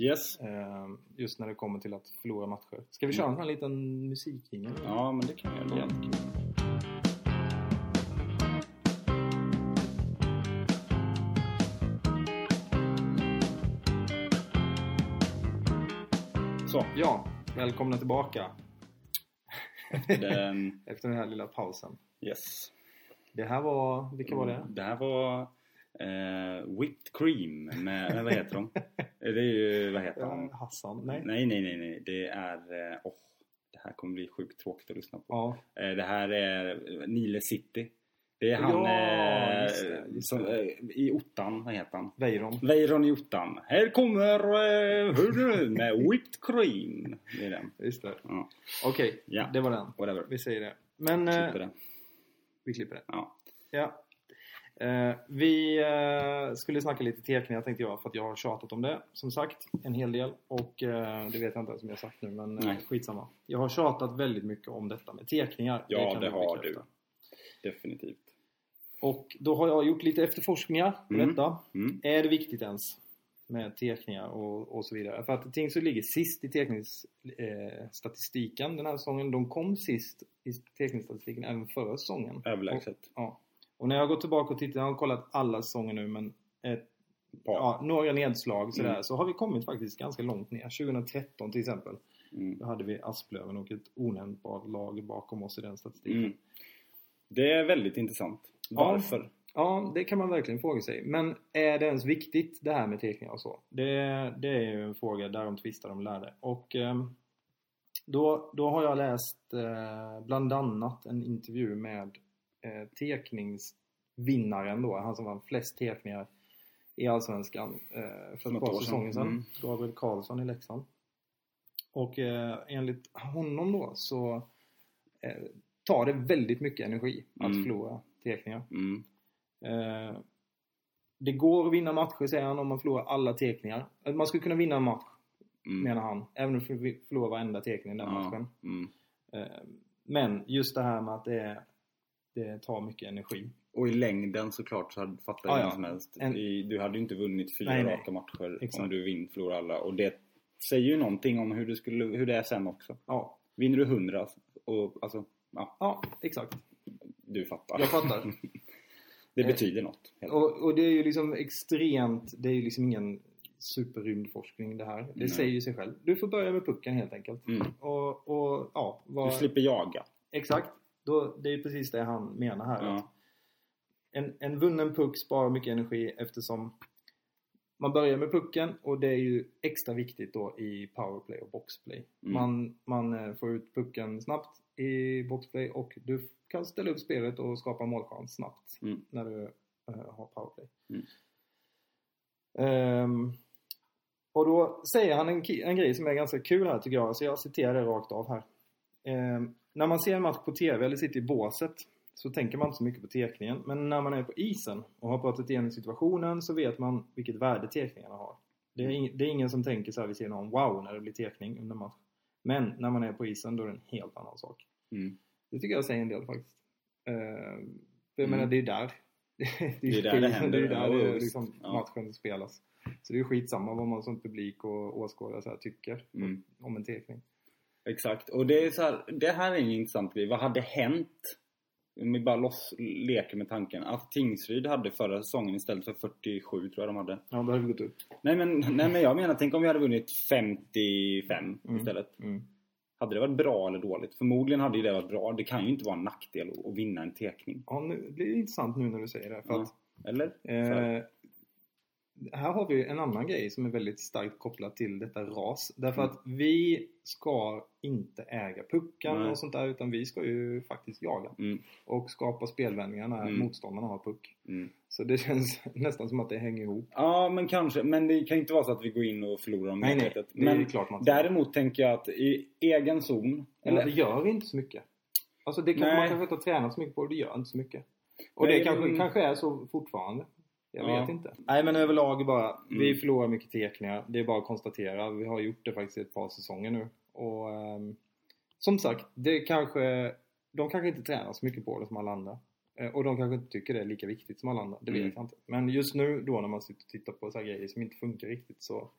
[SPEAKER 2] yes.
[SPEAKER 1] eh, Just när det kommer till att förlora matcher. Ska vi köra en sån här liten musikjingel?
[SPEAKER 2] Ja, men det kan jag göra.
[SPEAKER 1] Jättekul.
[SPEAKER 2] Så,
[SPEAKER 1] Ja, välkomna tillbaka
[SPEAKER 2] den,
[SPEAKER 1] efter den här lilla pausen.
[SPEAKER 2] yes.
[SPEAKER 1] Det här var, vilka var det?
[SPEAKER 2] Mm, Det här var eh, Whipped Cream med, nej, vad heter de? Det är ju, vad heter
[SPEAKER 1] Eh,
[SPEAKER 2] de?
[SPEAKER 1] Hassan? Nej?
[SPEAKER 2] Nej, nej, nej, nej. Det är, eh, åh, det här kommer bli sjukt tråkigt att lyssna på.
[SPEAKER 1] Ja,
[SPEAKER 2] Eh, det här är eh, Nile City. Det är han
[SPEAKER 1] Ja,
[SPEAKER 2] eh,
[SPEAKER 1] just det, just
[SPEAKER 2] som,
[SPEAKER 1] det.
[SPEAKER 2] eh, i ottan, vad heter han?
[SPEAKER 1] Weiron.
[SPEAKER 2] Weiron i ottan. Här kommer, eh, hör du, med Whipped Cream. Det är den.
[SPEAKER 1] Just det.
[SPEAKER 2] Ja,
[SPEAKER 1] Okej,
[SPEAKER 2] Ja.
[SPEAKER 1] det var den.
[SPEAKER 2] whatever.
[SPEAKER 1] Vi säger det. Men eh,
[SPEAKER 2] Klipper det.
[SPEAKER 1] vi klipper det.
[SPEAKER 2] Ja.
[SPEAKER 1] Ja. Eh, vi eh, skulle snacka lite teckningar tänkte jag för att jag har tjatat om det som sagt en hel del och eh, det vet jag inte ens om jag har sagt nu men eh,
[SPEAKER 2] Nej.
[SPEAKER 1] skitsamma. Jag har tjatat väldigt mycket om detta med teckningar.
[SPEAKER 2] Ja,
[SPEAKER 1] kan
[SPEAKER 2] det
[SPEAKER 1] jag
[SPEAKER 2] har
[SPEAKER 1] bekräfta.
[SPEAKER 2] Definitivt.
[SPEAKER 1] Och då har jag gjort lite efterforskningar på
[SPEAKER 2] Mm.
[SPEAKER 1] detta.
[SPEAKER 2] Mm.
[SPEAKER 1] Är det viktigt ens med tekningar och, och så vidare? För att Tingsryd ligger sist i tekningsstatistiken eh, statistiken den här säsongen. De kom sist i tekningsstatistiken även förra säsongen.
[SPEAKER 2] Överlägset.
[SPEAKER 1] Ja. Och när jag går tillbaka och tittar, jag har kollat alla säsonger nu men ett,
[SPEAKER 2] Par.
[SPEAKER 1] ja, några nedslag sådär,
[SPEAKER 2] Mm.
[SPEAKER 1] så har vi kommit faktiskt ganska långt ner. 2013 till exempel,
[SPEAKER 2] Mm.
[SPEAKER 1] då hade vi Asplöven och ett onämnbart lag bakom oss i den statistiken.
[SPEAKER 2] Mm. Det är väldigt intressant. Varför?
[SPEAKER 1] Ja, det kan man verkligen fråga sig. Men är det ens viktigt det här med teckningar och så? Det, det är ju en fråga där de tvistar de lärde. Och ehm, då, då har jag läst eh, bland annat en intervju med eh, teckningsvinnaren då, han som vann flest teckningar i Allsvenskan eh, för
[SPEAKER 2] Något
[SPEAKER 1] ett par
[SPEAKER 2] år sedan.
[SPEAKER 1] säsonger sedan.
[SPEAKER 2] Mm.
[SPEAKER 1] Gabriel Karlsson i Leksand. Och eh, enligt honom då så eh, tar det väldigt mycket energi att
[SPEAKER 2] Mm.
[SPEAKER 1] förlora teckningar.
[SPEAKER 2] Mm.
[SPEAKER 1] Eh, det går att vinna matcher säger han om man förlorar alla teckningar. Att Man skulle kunna vinna en match
[SPEAKER 2] Mm.
[SPEAKER 1] menar han. Även om vi förlorar varenda teckning i den
[SPEAKER 2] Ja.
[SPEAKER 1] matchen.
[SPEAKER 2] Mm.
[SPEAKER 1] Eh, men just det här med att det, är- det tar mycket energi.
[SPEAKER 2] Och i längden såklart så hade- fattar
[SPEAKER 1] Ja,
[SPEAKER 2] jag
[SPEAKER 1] ja.
[SPEAKER 2] vem som helst.
[SPEAKER 1] En-
[SPEAKER 2] I, du hade ju inte vunnit fyra
[SPEAKER 1] Nej, nej.
[SPEAKER 2] raka matcher om
[SPEAKER 1] Exakt.
[SPEAKER 2] du vinn förlorar alla. Och det säger ju någonting om hur, du skulle, hur det är sen också.
[SPEAKER 1] Ja,
[SPEAKER 2] Vinner du hundra och alltså, ja,
[SPEAKER 1] ja exakt.
[SPEAKER 2] du fattar.
[SPEAKER 1] Jag fattar.
[SPEAKER 2] Det
[SPEAKER 1] Eh,
[SPEAKER 2] betyder något. helt
[SPEAKER 1] Och, och det är ju liksom extremt, det är ju liksom ingen superrymdforskning det här. Det
[SPEAKER 2] Nej.
[SPEAKER 1] säger ju sig själv. Du får börja med pucken helt enkelt.
[SPEAKER 2] Mm.
[SPEAKER 1] Och, och ja,
[SPEAKER 2] Du
[SPEAKER 1] vad,
[SPEAKER 2] slipper jaga.
[SPEAKER 1] exakt. Då, det är ju precis det han menar här. att
[SPEAKER 2] Ja.
[SPEAKER 1] en, en vunnen puck sparar mycket energi eftersom man börjar med pucken och det är ju extra viktigt då i powerplay och boxplay.
[SPEAKER 2] Mm.
[SPEAKER 1] Man, man eh, får ut pucken snabbt i boxplay och du f- kan ställa upp spelet och skapa målchans snabbt
[SPEAKER 2] Mm.
[SPEAKER 1] när du eh, har powerplay.
[SPEAKER 2] Mm.
[SPEAKER 1] Ehm, och då säger han en, ki- en grej som är ganska kul här tycker jag, så jag citerar det rakt av här. Ehm, när man ser en match på TV eller sitter i båset så tänker man inte så mycket på tekningen. Men när man är på isen och har pratat igenom situationen så vet man vilket värde tekningarna har. Det är, ing- det är ingen som tänker så här vid sidan om wow när det blir tekning under match. Men när man är på isen då är det en helt annan sak.
[SPEAKER 2] Mm.
[SPEAKER 1] Det tycker jag säger en del faktiskt. Eh, för jag
[SPEAKER 2] Mm.
[SPEAKER 1] menar det är där. det
[SPEAKER 2] är där det
[SPEAKER 1] skit-
[SPEAKER 2] händer.
[SPEAKER 1] Det är där
[SPEAKER 2] Ja,
[SPEAKER 1] det,
[SPEAKER 2] visst.
[SPEAKER 1] liksom,
[SPEAKER 2] Ja.
[SPEAKER 1] matchen spelas. Så det är skitsamma vad man som publik och åskådare så här tycker
[SPEAKER 2] Mm.
[SPEAKER 1] om en tekning.
[SPEAKER 2] Exakt, och det är så här, det här är en intressant grej. Vad hade hänt Om vi bara loss, leker med tanken att Tingsryd hade förra säsongen istället för 47 tror jag de hade.
[SPEAKER 1] Ja, då har vi gått upp.
[SPEAKER 2] Nej men, nej, men jag menar, tänk om vi hade vunnit 55
[SPEAKER 1] Mm.
[SPEAKER 2] istället.
[SPEAKER 1] Mm.
[SPEAKER 2] Hade det varit bra eller dåligt? Förmodligen hade ju det varit bra. Det kan ju inte vara en nackdel att- att vinna en tekning.
[SPEAKER 1] Ja, nu, det blir intressant nu när du säger det. För
[SPEAKER 2] Ja.
[SPEAKER 1] att,
[SPEAKER 2] Eller?
[SPEAKER 1] eh, här har vi en annan grej som är väldigt starkt kopplad till detta ras. Därför
[SPEAKER 2] Mm.
[SPEAKER 1] att vi ska inte äga puckar
[SPEAKER 2] Nej.
[SPEAKER 1] och sånt där utan vi ska ju faktiskt jaga.
[SPEAKER 2] Mm.
[SPEAKER 1] Och skapa spelvändningar när
[SPEAKER 2] Mm.
[SPEAKER 1] motståndarna har puck.
[SPEAKER 2] Mm.
[SPEAKER 1] Så det känns nästan som att det hänger ihop.
[SPEAKER 2] Ja, men kanske. Men det kan ju inte vara så att vi går in och förlorar dem
[SPEAKER 1] Nej, nej.
[SPEAKER 2] Mm. medvetet.
[SPEAKER 1] Det är
[SPEAKER 2] Men
[SPEAKER 1] klart man ska.
[SPEAKER 2] däremot tänker jag att i egen zon...
[SPEAKER 1] Eller det
[SPEAKER 2] Eller,
[SPEAKER 1] gör inte så mycket. Alltså det kan, man
[SPEAKER 2] Nej.
[SPEAKER 1] kanske inte har tränat så mycket på det, det gör inte så mycket. Och
[SPEAKER 2] Nej,
[SPEAKER 1] det kanske,
[SPEAKER 2] men-
[SPEAKER 1] kanske är så fortfarande. Jag
[SPEAKER 2] Ja.
[SPEAKER 1] vet inte. Nej men överlag bara, vi
[SPEAKER 2] Mm.
[SPEAKER 1] förlorar mycket teckningar. Det är bara att konstatera. Vi har gjort det faktiskt i ett par säsonger nu. Och ehm, som sagt, det kanske, de kanske inte tränar så mycket på det som alla andra. Eh, Och de kanske inte tycker det är lika viktigt som alla andra. Det vet
[SPEAKER 2] Mm.
[SPEAKER 1] jag inte. Men just nu då när man sitter och tittar på så här grejer som inte funkar riktigt så,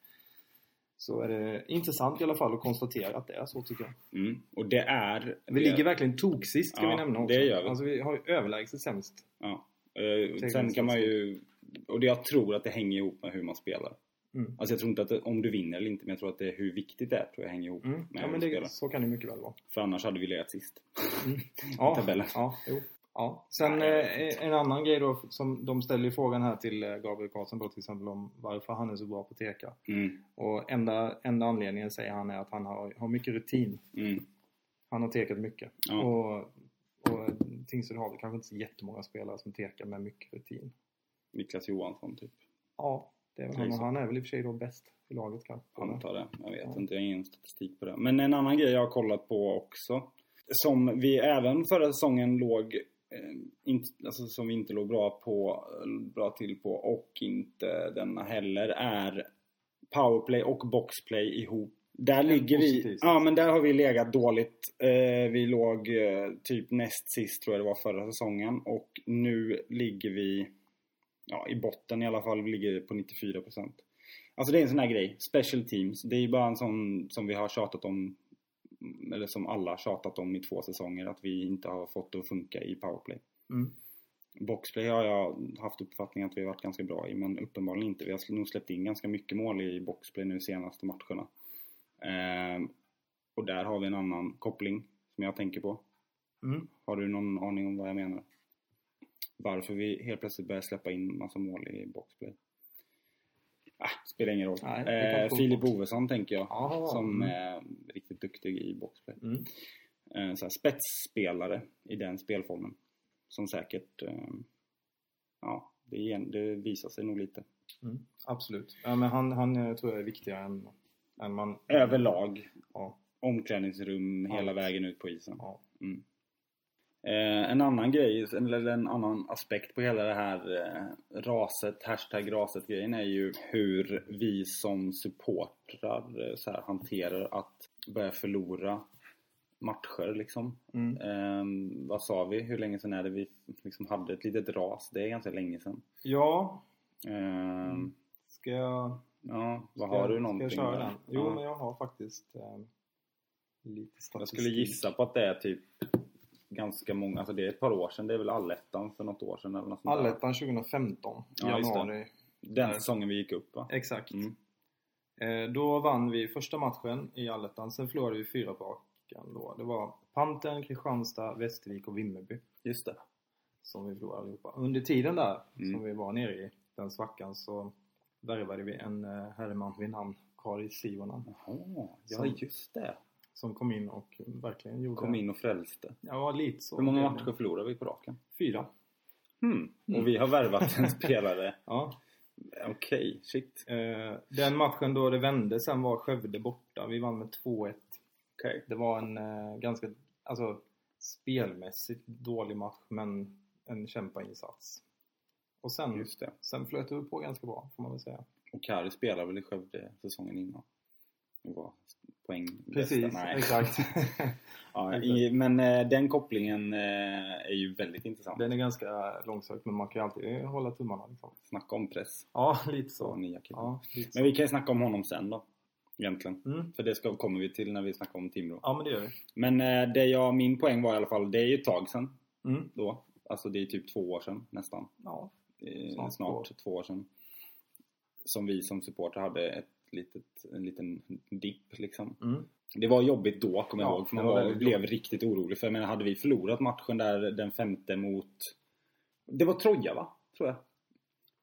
[SPEAKER 1] så är det intressant i alla fall att konstatera att det är så tycker jag.
[SPEAKER 2] mm, och det är...
[SPEAKER 1] Vi
[SPEAKER 2] det-
[SPEAKER 1] ligger verkligen toksist ska
[SPEAKER 2] Ja,
[SPEAKER 1] vi nämna också.
[SPEAKER 2] det gör vi.
[SPEAKER 1] Alltså vi har ju överlägset sämst.
[SPEAKER 2] Ja. Eh, Sen kan man ju... Och det, jag tror att det hänger ihop med hur man spelar.
[SPEAKER 1] Mm.
[SPEAKER 2] Alltså jag tror inte att det, om du vinner eller inte, men jag tror att det är hur viktigt det är tror jag hänger ihop.
[SPEAKER 1] Mm.
[SPEAKER 2] Nej,
[SPEAKER 1] Ja men
[SPEAKER 2] vi
[SPEAKER 1] det,
[SPEAKER 2] spelar.
[SPEAKER 1] så kan det mycket väl vara.
[SPEAKER 2] För annars hade vi legat sist.
[SPEAKER 1] Ja,
[SPEAKER 2] tabellen.
[SPEAKER 1] Ja, jo. Ja. Sen
[SPEAKER 2] Nej.
[SPEAKER 1] eh, en annan grej då, som de ställer ju frågan här till eh, Gabriel Karlsson då till exempel om varför han är så bra på teka.
[SPEAKER 2] Mm.
[SPEAKER 1] Och enda, enda anledningen säger han är att han har, har mycket rutin.
[SPEAKER 2] Mm.
[SPEAKER 1] Han har tekat mycket.
[SPEAKER 2] Ja.
[SPEAKER 1] Och, och Tingsryd har väl kanske inte så jättemånga spelare som tekar med mycket rutin.
[SPEAKER 2] Niklas Johansson typ.
[SPEAKER 1] Ja, det är väl
[SPEAKER 2] Det är
[SPEAKER 1] han. Och
[SPEAKER 2] så.
[SPEAKER 1] han är väl i och för sig då bäst i laget kanske.
[SPEAKER 2] Antar det. Jag vet
[SPEAKER 1] Ja.
[SPEAKER 2] inte, jag har ingen statistik på det. Men en annan grej jag har kollat på också. Som vi även förra säsongen låg... Eh, inte, alltså som vi inte låg bra, på, bra till på och inte denna heller är powerplay och boxplay ihop. Där ligger vi...
[SPEAKER 1] positivt.
[SPEAKER 2] Ja, men där har vi legat dåligt. Eh, vi låg eh, typ näst sist tror jag det var förra säsongen och nu ligger vi ja, i botten i alla fall. Vi ligger på 94%. Alltså det är en sån här grej. Special teams. Det är ju bara en sån som vi har tjatat om. Eller som alla har tjatat om i två säsonger. Att vi inte har fått det att funka i powerplay.
[SPEAKER 1] Mm.
[SPEAKER 2] Boxplay har jag haft uppfattningen att vi har varit ganska bra i. Men uppenbarligen inte. Vi har nog släppt in ganska mycket mål i boxplay nu senaste matcherna. Ehm, och där har vi en annan koppling som jag tänker på.
[SPEAKER 1] Mm.
[SPEAKER 2] Har du någon aning om vad jag menar? Varför vi helt plötsligt börjar släppa in massa mål i boxplay? Ah, spelar ingen roll.
[SPEAKER 1] Nej, det kan
[SPEAKER 2] eh,
[SPEAKER 1] få-
[SPEAKER 2] Filip Ovesson tänker jag.
[SPEAKER 1] Ja,
[SPEAKER 2] Som
[SPEAKER 1] mm.
[SPEAKER 2] är riktigt duktig i boxplay.
[SPEAKER 1] Mm.
[SPEAKER 2] Eh, så här, spetsspelare i den spelformen. Som säkert... Eh, ja, det, igen, det visar sig nog lite.
[SPEAKER 1] Mm, absolut. Ja, men han, han eh, tror jag är viktigare än, än man...
[SPEAKER 2] Överlag.
[SPEAKER 1] Ja.
[SPEAKER 2] Omklädningsrum
[SPEAKER 1] Ja.
[SPEAKER 2] hela vägen ut på isen.
[SPEAKER 1] ja.
[SPEAKER 2] Mm. Eh, en annan grej, eller en annan aspekt på hela det här eh, raset, hashtag raset grejen är ju hur vi som supportrar eh, så här, hanterar att börja förlora matcher liksom.
[SPEAKER 1] Mm.
[SPEAKER 2] Ehm, vad sa vi? Hur länge sedan är det vi liksom hade ett litet ras? Det är ganska länge sedan.
[SPEAKER 1] ja,
[SPEAKER 2] Ehm,
[SPEAKER 1] ska jag...
[SPEAKER 2] Ja, vad
[SPEAKER 1] Mm. ska jag-
[SPEAKER 2] har du
[SPEAKER 1] Ska
[SPEAKER 2] någonting?
[SPEAKER 1] jag köra
[SPEAKER 2] där?
[SPEAKER 1] den? Jo,
[SPEAKER 2] ja.
[SPEAKER 1] men jag har faktiskt eh, lite statistik.
[SPEAKER 2] Jag skulle gissa på att det är typ ganska många, alltså det är ett par år sedan, det är väl allettan för något år sedan eller något sånt där.
[SPEAKER 1] Allettan 2015,
[SPEAKER 2] Ja, just det.
[SPEAKER 1] januari.
[SPEAKER 2] Den säsongen vi gick upp va?
[SPEAKER 1] Exakt.
[SPEAKER 2] Mm.
[SPEAKER 1] Eh, då vann vi första matchen i Allettan, sen förlorade vi fyra på raken då. Det var Pantern, Kristianstad, Västervik och Vimmerby.
[SPEAKER 2] Just det.
[SPEAKER 1] som vi förlorade allihopa. Under tiden där
[SPEAKER 2] Mm.
[SPEAKER 1] som vi var nere i den svackan så värvade vi en eh, herreman vid namn Kari Sivonen
[SPEAKER 2] Jaha, ja
[SPEAKER 1] Som-
[SPEAKER 2] just det.
[SPEAKER 1] som kom in och verkligen gjorde...
[SPEAKER 2] Kom in och frälste.
[SPEAKER 1] Ja, lite så.
[SPEAKER 2] Hur många matcher förlorade vi på raken?
[SPEAKER 1] Fyra.
[SPEAKER 2] Hmm.
[SPEAKER 1] Mm.
[SPEAKER 2] Och vi har värvat en spelare.
[SPEAKER 1] Ja.
[SPEAKER 2] Okej, shit.
[SPEAKER 1] Eh, den matchen då det vände sen var Skövde borta. Vi vann med 2-1.
[SPEAKER 2] Okej.
[SPEAKER 1] Det var en eh, ganska, alltså spelmässigt dålig match men en kämpainsats. Och sen,
[SPEAKER 2] Just det.
[SPEAKER 1] sen flöt det på ganska bra får man väl säga.
[SPEAKER 2] Och Kari spelade väl i Skövde säsongen innan? Och var poäng
[SPEAKER 1] Precis,
[SPEAKER 2] Nej.
[SPEAKER 1] exakt.
[SPEAKER 2] Ja, i, men eh, den kopplingen eh, är ju väldigt intressant.
[SPEAKER 1] Den är ganska långsökt men man kan ju alltid hålla tummarna. Liksom.
[SPEAKER 2] Snacka om press
[SPEAKER 1] Ja, lite
[SPEAKER 2] på
[SPEAKER 1] så.
[SPEAKER 2] nya killar.
[SPEAKER 1] Ja, lite så.
[SPEAKER 2] Men vi kan ju snacka om honom sen då. Egentligen.
[SPEAKER 1] Mm.
[SPEAKER 2] För det ska, kommer vi till när vi snackar om Timrå.
[SPEAKER 1] ja men det gör vi.
[SPEAKER 2] Men eh, det jag, min poäng var i alla fall, det är ju ett tag sedan.
[SPEAKER 1] Mm.
[SPEAKER 2] då. Alltså det är typ två år sedan nästan.
[SPEAKER 1] Ja,
[SPEAKER 2] Eh,
[SPEAKER 1] Snart
[SPEAKER 2] Snart,
[SPEAKER 1] två.
[SPEAKER 2] två år sedan. Som vi som supportrar hade ett litet, en liten dipp liksom.
[SPEAKER 1] mm.
[SPEAKER 2] Det var jobbigt då kommer jag
[SPEAKER 1] Ja,
[SPEAKER 2] ihåg.
[SPEAKER 1] det
[SPEAKER 2] för Man
[SPEAKER 1] var
[SPEAKER 2] var
[SPEAKER 1] väldigt
[SPEAKER 2] blev riktigt orolig. För jag menar, hade vi förlorat matchen där den femte mot... Det var Troja va? Tror jag.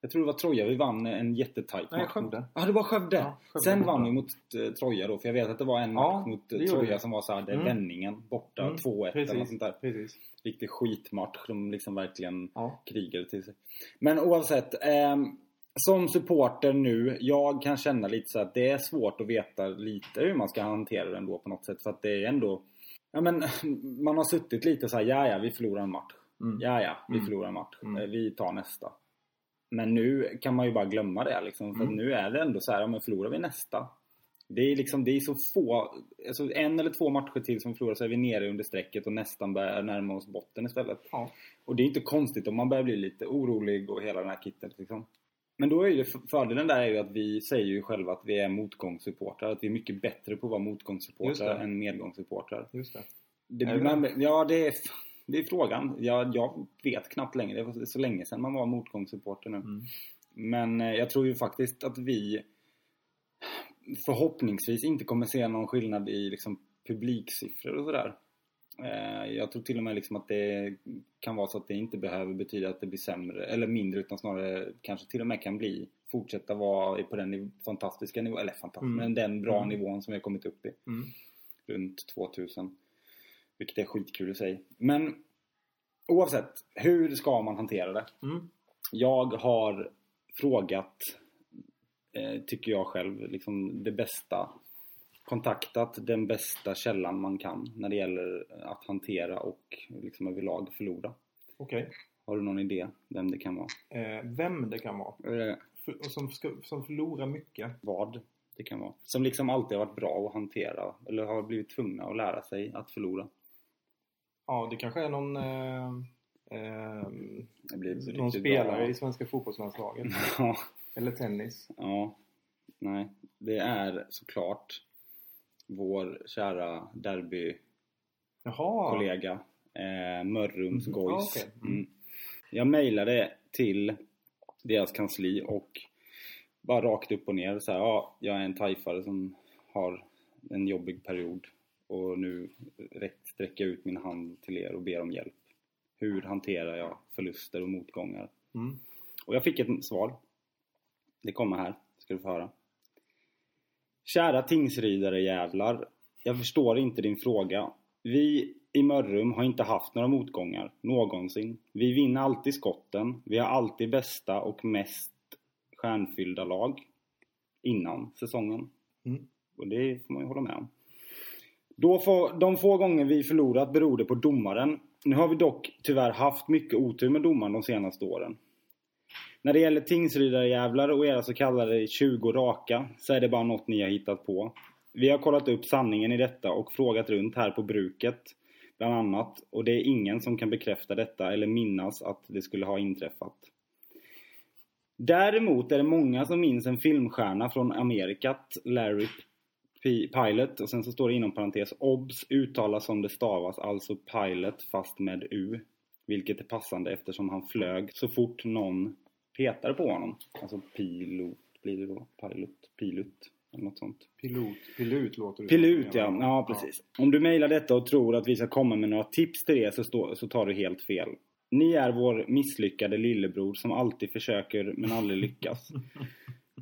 [SPEAKER 2] Jag tror det var Troja vi vann en jättetajt
[SPEAKER 1] Nej,
[SPEAKER 2] match. mot-
[SPEAKER 1] Skövde.
[SPEAKER 2] Ja, det var Skövde.
[SPEAKER 1] Ja, Skövde.
[SPEAKER 2] Sen vann vi mot eh, Troja då. För jag vet att det var en
[SPEAKER 1] Ja,
[SPEAKER 2] match mot eh,
[SPEAKER 1] det gjorde
[SPEAKER 2] Troja
[SPEAKER 1] vi.
[SPEAKER 2] som var så här, det är
[SPEAKER 1] Mm.
[SPEAKER 2] vändningen borta.
[SPEAKER 1] Mm,
[SPEAKER 2] 2-1 eller något
[SPEAKER 1] Precis.
[SPEAKER 2] sånt där.
[SPEAKER 1] Precis.
[SPEAKER 2] Riktig skitmatch. De liksom verkligen
[SPEAKER 1] Ja.
[SPEAKER 2] krigade till sig. Men oavsett. ehm, som supporter nu, jag kan känna lite så att det är svårt att veta lite hur man ska hantera den då på något sätt. För att det är ändå... Ja men man har suttit lite så här, ja ja vi förlorar en match.
[SPEAKER 1] Mm.
[SPEAKER 2] Ja ja, vi
[SPEAKER 1] Mm.
[SPEAKER 2] förlorar en match.
[SPEAKER 1] Mm.
[SPEAKER 2] Eh, Vi tar nästa. Men nu kan man ju bara glömma det liksom. För
[SPEAKER 1] Mm.
[SPEAKER 2] nu är det ändå så här, ja men förlorar vi nästa? Det är liksom, det är så få, alltså en eller två matcher till som vi förlorar så är vi nere under strecket och nästan börjar närma oss botten istället.
[SPEAKER 1] Ja.
[SPEAKER 2] Och det är inte konstigt om man börjar bli lite orolig och hela den här kitten liksom. Men då är ju f- fördelen där är ju att vi säger ju själva att vi är motgångssupportrar. Att vi är mycket bättre på att vara
[SPEAKER 1] Just det.
[SPEAKER 2] motgångssupportrar än medgångssupportrar.
[SPEAKER 1] Just det.
[SPEAKER 2] Det,
[SPEAKER 1] Är det
[SPEAKER 2] man, ja, det är, det är frågan. Jag, jag vet knappt längre. Det var så länge sedan man var motgångssupporter nu.
[SPEAKER 1] Mm.
[SPEAKER 2] Men eh, jag tror ju faktiskt att vi förhoppningsvis inte kommer se någon skillnad i liksom, publiksiffror och sådär. Eh, Jag tror till och med liksom att det kan vara så att det inte behöver betyda att det blir sämre eller mindre utan snarare kanske till och med kan bli fortsätta vara på den niv- fantastiska nivån, eller fantastiska,
[SPEAKER 1] Mm.
[SPEAKER 2] men den bra
[SPEAKER 1] Mm.
[SPEAKER 2] nivån som vi har kommit upp i
[SPEAKER 1] Mm.
[SPEAKER 2] runt 2000. Vilket är skitkul i sig. Men oavsett, hur ska man hantera det?
[SPEAKER 1] Mm.
[SPEAKER 2] Jag har frågat, eh, tycker jag själv, liksom det bästa. Kontaktat den bästa källan man kan när det gäller att hantera och liksom överlag förlora.
[SPEAKER 1] Okej.
[SPEAKER 2] Har du någon idé vem det kan vara?
[SPEAKER 1] Eh, vem det kan vara.
[SPEAKER 2] Eh,
[SPEAKER 1] För, och som, ska, som förlorar mycket.
[SPEAKER 2] vad det kan vara. Som liksom alltid har varit bra att hantera eller har blivit tvungna att lära sig att förlora.
[SPEAKER 1] Ja, det kanske är någon... Eh, eh,
[SPEAKER 2] Det blir
[SPEAKER 1] någon
[SPEAKER 2] riktigt bra.
[SPEAKER 1] spelare i svenska fotbollslandslaget.
[SPEAKER 2] Ja.
[SPEAKER 1] Eller tennis.
[SPEAKER 2] Ja, nej. Det är såklart vår kära derbykollega
[SPEAKER 1] Jaha!
[SPEAKER 2] eh, Mörrums
[SPEAKER 1] Mhm.
[SPEAKER 2] Gois.
[SPEAKER 1] Ja, okej. Mm.
[SPEAKER 2] Mm. Jag mejlade till deras kansli och bara rakt upp och ner så här, ja, jag är en tajfare som har en jobbig period och nu rätt- sträcker jag ut min hand till er och ber om hjälp. Hur hanterar jag förluster och motgångar?
[SPEAKER 1] Mm.
[SPEAKER 2] Och jag fick ett svar. Det kommer här, ska du få höra. Kära tingsridare jävlar. Jag förstår inte din fråga. Vi i Mörrum har inte haft några motgångar, någonsin. Vi vinner alltid skotten. Vi har alltid bästa och mest stjärnfyllda lag. Innan säsongen.
[SPEAKER 1] Mm.
[SPEAKER 2] Och det får man ju hålla med om. Då få, de få gånger vi förlorat beror det på domaren. Nu har vi dock tyvärr haft mycket otur med domaren de senaste åren. När det gäller tingsridarjävlar och era så kallade 20 raka så är det bara något ni har hittat på. Vi har kollat upp sanningen i detta och frågat runt här på bruket bland annat och det är ingen som kan bekräfta detta eller minnas att det skulle ha inträffat. Däremot är det många som minns en filmstjärna från Amerikat, Larry P- Pilot och sen så står det inom parentes OBS uttalas som det stavas, alltså Pilot fast med U. Vilket är passande eftersom han flög så fort någon petade på honom. Alltså pilot blir det då. Pilot, pilut eller något sånt.
[SPEAKER 1] Pilot. Pilut låter det
[SPEAKER 2] Pilut
[SPEAKER 1] som.
[SPEAKER 2] ja, ja precis. Om du mejlar detta och tror att vi ska komma med några tips till det så, stå, så tar du helt fel. Ni är vår misslyckade lillebror som alltid försöker men aldrig lyckas.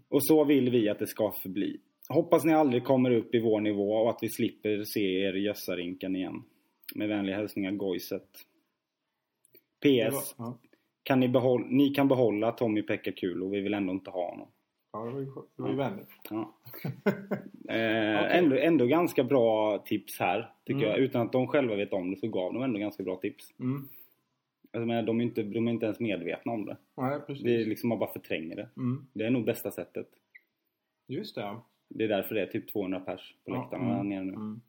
[SPEAKER 2] Och så vill vi att det ska förbli. Hoppas ni aldrig kommer upp i vår nivå och att vi slipper se er i gössarinkan igen. Med vänliga hälsningar Goiset.
[SPEAKER 1] Ja.
[SPEAKER 2] PS.
[SPEAKER 1] Det var- ja.
[SPEAKER 2] Kan ni, behåll, ni kan behålla Tommy Pekkakulo, vi vill ändå inte ha honom.
[SPEAKER 1] Ja, det var ju skö- det var ju vänligt.
[SPEAKER 2] Ja. eh, ändå, ändå ganska bra tips här, tycker
[SPEAKER 1] Mm.
[SPEAKER 2] jag. Utan att de själva vet om det så gav de ändå ganska bra tips.
[SPEAKER 1] Mm.
[SPEAKER 2] Alltså, men de, är inte, de är inte ens medvetna om det.
[SPEAKER 1] Nej, precis.
[SPEAKER 2] Det är liksom man bara förtränger det.
[SPEAKER 1] Mm.
[SPEAKER 2] Det är nog bästa sättet.
[SPEAKER 1] Just det. ja.
[SPEAKER 2] Det är därför det är typ 200 pers på
[SPEAKER 1] Ja,
[SPEAKER 2] läktarna
[SPEAKER 1] mm,
[SPEAKER 2] här nere nu.
[SPEAKER 1] Mm.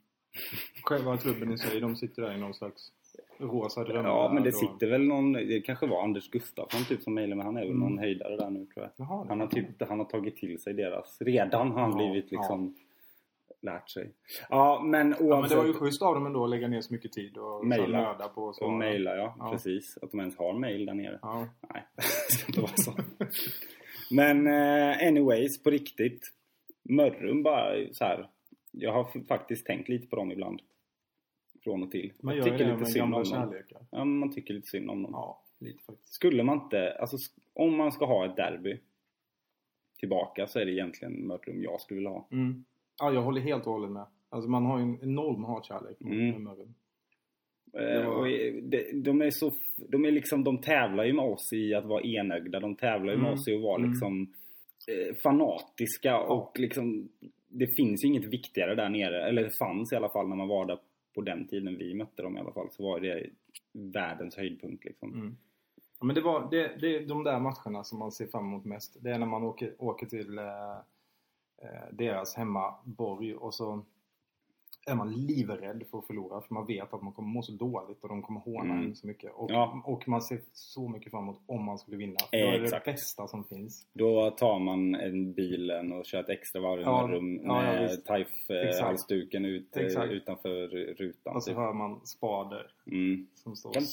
[SPEAKER 1] Själva klubben i sig, de sitter där i någon slags rosa drömmar.
[SPEAKER 2] Ja, men det
[SPEAKER 1] då.
[SPEAKER 2] sitter väl någon... Det kanske var Anders Gustafsson typ som mejlade, men han är väl
[SPEAKER 1] Mm.
[SPEAKER 2] någon höjdare där nu tror jag.
[SPEAKER 1] Jaha, det
[SPEAKER 2] Han har,
[SPEAKER 1] kan-
[SPEAKER 2] typ, han har tagit till sig deras... Redan har han
[SPEAKER 1] Ja,
[SPEAKER 2] blivit
[SPEAKER 1] ja.
[SPEAKER 2] liksom lärt sig. Ja, men oavsett.
[SPEAKER 1] Ja, men det var ju schysst av dem ändå att lägga ner så mycket tid och
[SPEAKER 2] Maila.
[SPEAKER 1] så nörda på så.
[SPEAKER 2] Och mejla, ja,
[SPEAKER 1] Ja.
[SPEAKER 2] Precis. Att de ens har mejl där nere.
[SPEAKER 1] Ja.
[SPEAKER 2] Nej, det ska inte vara så. Men eh, anyways, på riktigt. Mörrum bara så här. Jag har f- faktiskt tänkt lite på dem ibland. Från och till.
[SPEAKER 1] Man
[SPEAKER 2] jag
[SPEAKER 1] gör ju det med
[SPEAKER 2] synd om
[SPEAKER 1] gamla
[SPEAKER 2] dem.
[SPEAKER 1] kärlekar.
[SPEAKER 2] Ja, men man tycker lite synd om dem.
[SPEAKER 1] Ja, lite faktiskt.
[SPEAKER 2] Skulle man inte, alltså sk- om man ska ha ett derby tillbaka så är det egentligen Mörrum jag skulle vilja ha.
[SPEAKER 1] Mm. Ja, jag håller helt och hållet med. Alltså man har ju en enorm hatkärlek mot
[SPEAKER 2] Mm.
[SPEAKER 1] med Mörrum.
[SPEAKER 2] Eh,
[SPEAKER 1] var-
[SPEAKER 2] och eh, de, de är så, f- de är liksom, de tävlar ju med oss i att vara enögda. De tävlar ju med
[SPEAKER 1] Mm.
[SPEAKER 2] oss i att vara
[SPEAKER 1] Mm.
[SPEAKER 2] liksom eh, fanatiska och liksom det finns ju inget viktigare där nere. Eller det fanns i alla fall när man var där på den tiden vi mötte dem i alla fall så var det världens höjdpunkt liksom.
[SPEAKER 1] Mm. Ja, men det, var, det, det är de där matcherna som man ser fram emot mest. Det är när man åker, åker till eh, eh, deras hemmaborg och så är man livrädd för att förlora för man vet att man kommer må så dåligt och de kommer håna
[SPEAKER 2] Mm.
[SPEAKER 1] en så mycket. Och,
[SPEAKER 2] Ja.
[SPEAKER 1] och man ser så mycket fram emot om man skulle vinna. För
[SPEAKER 2] Eh,
[SPEAKER 1] då är det det
[SPEAKER 2] exakt.
[SPEAKER 1] bästa som finns.
[SPEAKER 2] Då tar man en bilen och kör ett extra varv i
[SPEAKER 1] Ja,
[SPEAKER 2] rum med
[SPEAKER 1] ja, ja,
[SPEAKER 2] ja,
[SPEAKER 1] visst. Exakt.
[SPEAKER 2] TAIF-halsduken ut, eh,
[SPEAKER 1] Exakt. Alltså,
[SPEAKER 2] utanför rutan. typ.
[SPEAKER 1] Och så hör man spader
[SPEAKER 2] Mm.
[SPEAKER 1] som står
[SPEAKER 2] Jävla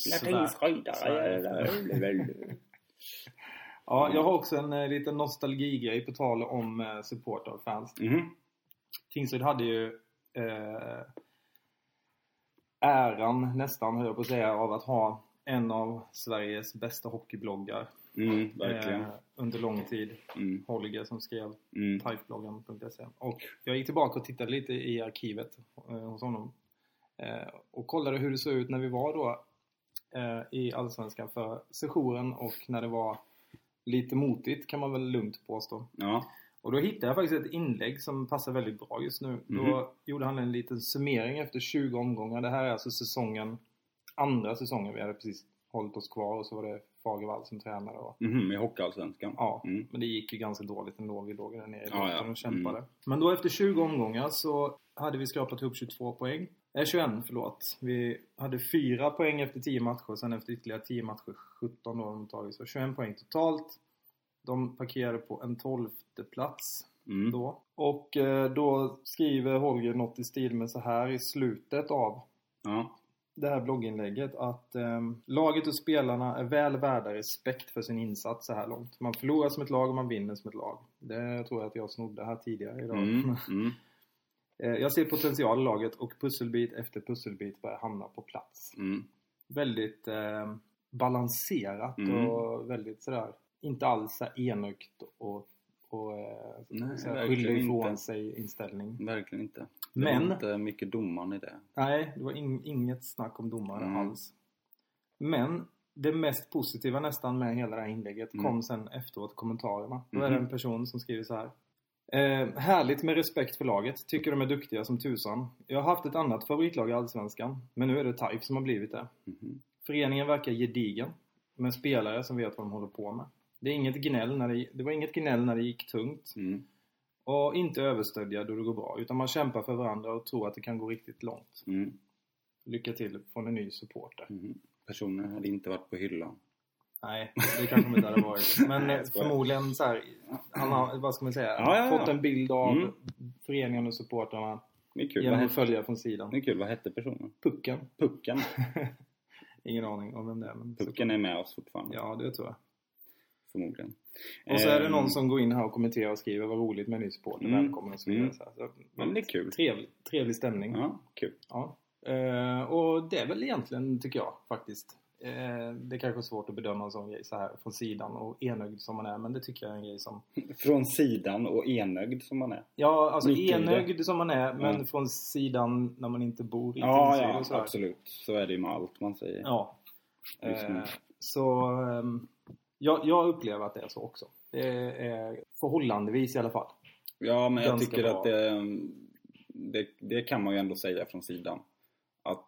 [SPEAKER 1] sådär.
[SPEAKER 2] tingsräddare.
[SPEAKER 1] Ja, jag har också en eh, liten nostalgigrej på tal om eh, supportrar och fans.
[SPEAKER 2] Mhm.
[SPEAKER 1] Tingsryd hade ju eh, äran, nästan höll jag på att säga, av att ha en av Sveriges bästa hockeybloggar
[SPEAKER 2] Mm, verkligen.
[SPEAKER 1] eh, under lång tid.
[SPEAKER 2] Mm,
[SPEAKER 1] Holger som skrev
[SPEAKER 2] mm.
[SPEAKER 1] typebloggen.se. E. Och jag gick tillbaka och tittade lite i arkivet eh, hos honom. Eh, och kollade hur det såg ut när vi var då eh, i Allsvenskan för sessionen och när det var lite motigt kan man väl lugnt påstå.
[SPEAKER 2] Ja.
[SPEAKER 1] Och då hittade jag faktiskt ett inlägg som passar väldigt bra just nu.
[SPEAKER 2] Mhm.
[SPEAKER 1] Då gjorde han en liten summering efter 20 omgångar. Det här är alltså säsongen, andra säsongen. Vi hade precis hållit oss kvar och så var det Fagervall som tränare. Och,
[SPEAKER 2] Mhm, I Hockeyallsvenskan?
[SPEAKER 1] ja,
[SPEAKER 2] Mm.
[SPEAKER 1] men det gick ju ganska dåligt ändå. Vi låg där nere i
[SPEAKER 2] Ja, Mm.
[SPEAKER 1] botten
[SPEAKER 2] ja.
[SPEAKER 1] och kämpade. Men då efter 20 omgångar så hade vi skrapat ihop 22 poäng. Eh, 21, förlåt. Vi hade 4 poäng efter 10 matcher. Sen efter ytterligare 10 matcher, 17 då har de tagit. Så 21 poäng totalt. De parkerade på en tolfte plats
[SPEAKER 2] Mm.
[SPEAKER 1] då. Och eh, då skriver Holger något i stil med så här i slutet av
[SPEAKER 2] Ja.
[SPEAKER 1] det här blogginlägget att ehm, laget och spelarna är väl värda respekt för sin insats så här långt. Man förlorar som ett lag och man vinner som ett lag. Det tror jag att jag snodde här tidigare idag.
[SPEAKER 2] Mm. Mm.
[SPEAKER 1] Eh, jag ser potential i laget och pusselbit efter pusselbit börjar hamna på plats.
[SPEAKER 2] Mm.
[SPEAKER 1] Väldigt ehm, balanserat
[SPEAKER 2] Mm.
[SPEAKER 1] och väldigt sådär inte alls så här enögt och, och eh,
[SPEAKER 2] Nej,
[SPEAKER 1] så här,
[SPEAKER 2] verkligen
[SPEAKER 1] skyller ifrån
[SPEAKER 2] inte.
[SPEAKER 1] sig inställning.
[SPEAKER 2] Verkligen inte. Det
[SPEAKER 1] Men-
[SPEAKER 2] var inte mycket domaren i det.
[SPEAKER 1] Nej, det var in, inget snack om domare
[SPEAKER 2] Mm.
[SPEAKER 1] alls. Men det mest positiva nästan med hela det här inlägget
[SPEAKER 2] Mm.
[SPEAKER 1] kom sen efteråt kommentarerna. Då är
[SPEAKER 2] Mhm.
[SPEAKER 1] det en person som skriver så här. Eh, härligt med respekt för laget. Tycker de är duktiga som tusan. Jag har haft ett annat favoritlag i Allsvenskan. Men nu är det TAIF som har blivit det.
[SPEAKER 2] Mhm.
[SPEAKER 1] Föreningen verkar gedigen. Med spelare som vet vad de håller på med. Det, är inget gnäll när det, det var inget gnäll när det gick tungt.
[SPEAKER 2] Mm.
[SPEAKER 1] Och inte överstödja då det går bra. Utan man kämpar för varandra och tror att det kan gå riktigt långt.
[SPEAKER 2] Mm.
[SPEAKER 1] Lycka till från en ny supporter.
[SPEAKER 2] Mhm. Personen hade inte varit på hyllan.
[SPEAKER 1] Nej, det kanske de inte hade varit. Men
[SPEAKER 2] Nej,
[SPEAKER 1] eh,
[SPEAKER 2] jag skojar.
[SPEAKER 1] förmodligen så här, han har, vad ska man säga,
[SPEAKER 2] Ja, ja, ja.
[SPEAKER 1] fått en bild av
[SPEAKER 2] Mm.
[SPEAKER 1] föreningen och supportrarna
[SPEAKER 2] Det är kul. Vad
[SPEAKER 1] genom att
[SPEAKER 2] hette,
[SPEAKER 1] följa från
[SPEAKER 2] det
[SPEAKER 1] sidan.
[SPEAKER 2] är kul. Vad hette personen?
[SPEAKER 1] Pucken.
[SPEAKER 2] Pucken.
[SPEAKER 1] Ingen aning om vem det är. Men
[SPEAKER 2] Pucken är med oss fortfarande.
[SPEAKER 1] Ja, det tror jag.
[SPEAKER 2] Förmodligen.
[SPEAKER 1] Och så är det
[SPEAKER 2] Ehm,
[SPEAKER 1] någon som går in här och kommenterar och skriver vad roligt med en ny supporter,
[SPEAKER 2] Mm.
[SPEAKER 1] välkommen och så vidare.
[SPEAKER 2] Mm.
[SPEAKER 1] Så här. Så,
[SPEAKER 2] Ja, men det är kul.
[SPEAKER 1] trevlig, trevlig stämning.
[SPEAKER 2] Ja, kul.
[SPEAKER 1] Ja. Eh, och det är väl egentligen, tycker jag faktiskt. Eh, det kanske är svårt att bedöma en sån grej så här från sidan och enögd som man är, men det tycker jag är en grej som
[SPEAKER 2] Från sidan och enögd som man är.
[SPEAKER 1] Ja, alltså
[SPEAKER 2] Mitt i det.
[SPEAKER 1] enögd som man är, men
[SPEAKER 2] Mm.
[SPEAKER 1] från sidan när man inte bor i
[SPEAKER 2] Ja,
[SPEAKER 1] Tingsryd
[SPEAKER 2] ja
[SPEAKER 1] och sådär.
[SPEAKER 2] absolut. Så är det ju med allt man säger.
[SPEAKER 1] Ja.
[SPEAKER 2] Just nu.
[SPEAKER 1] Eh, så ehm, jag, jag upplever att det är så också. Det är förhållandevis i alla fall.
[SPEAKER 2] Ja, men jag
[SPEAKER 1] Ganska
[SPEAKER 2] tycker
[SPEAKER 1] bra.
[SPEAKER 2] att det, mm, det, det kan man ju ändå säga från sidan. Att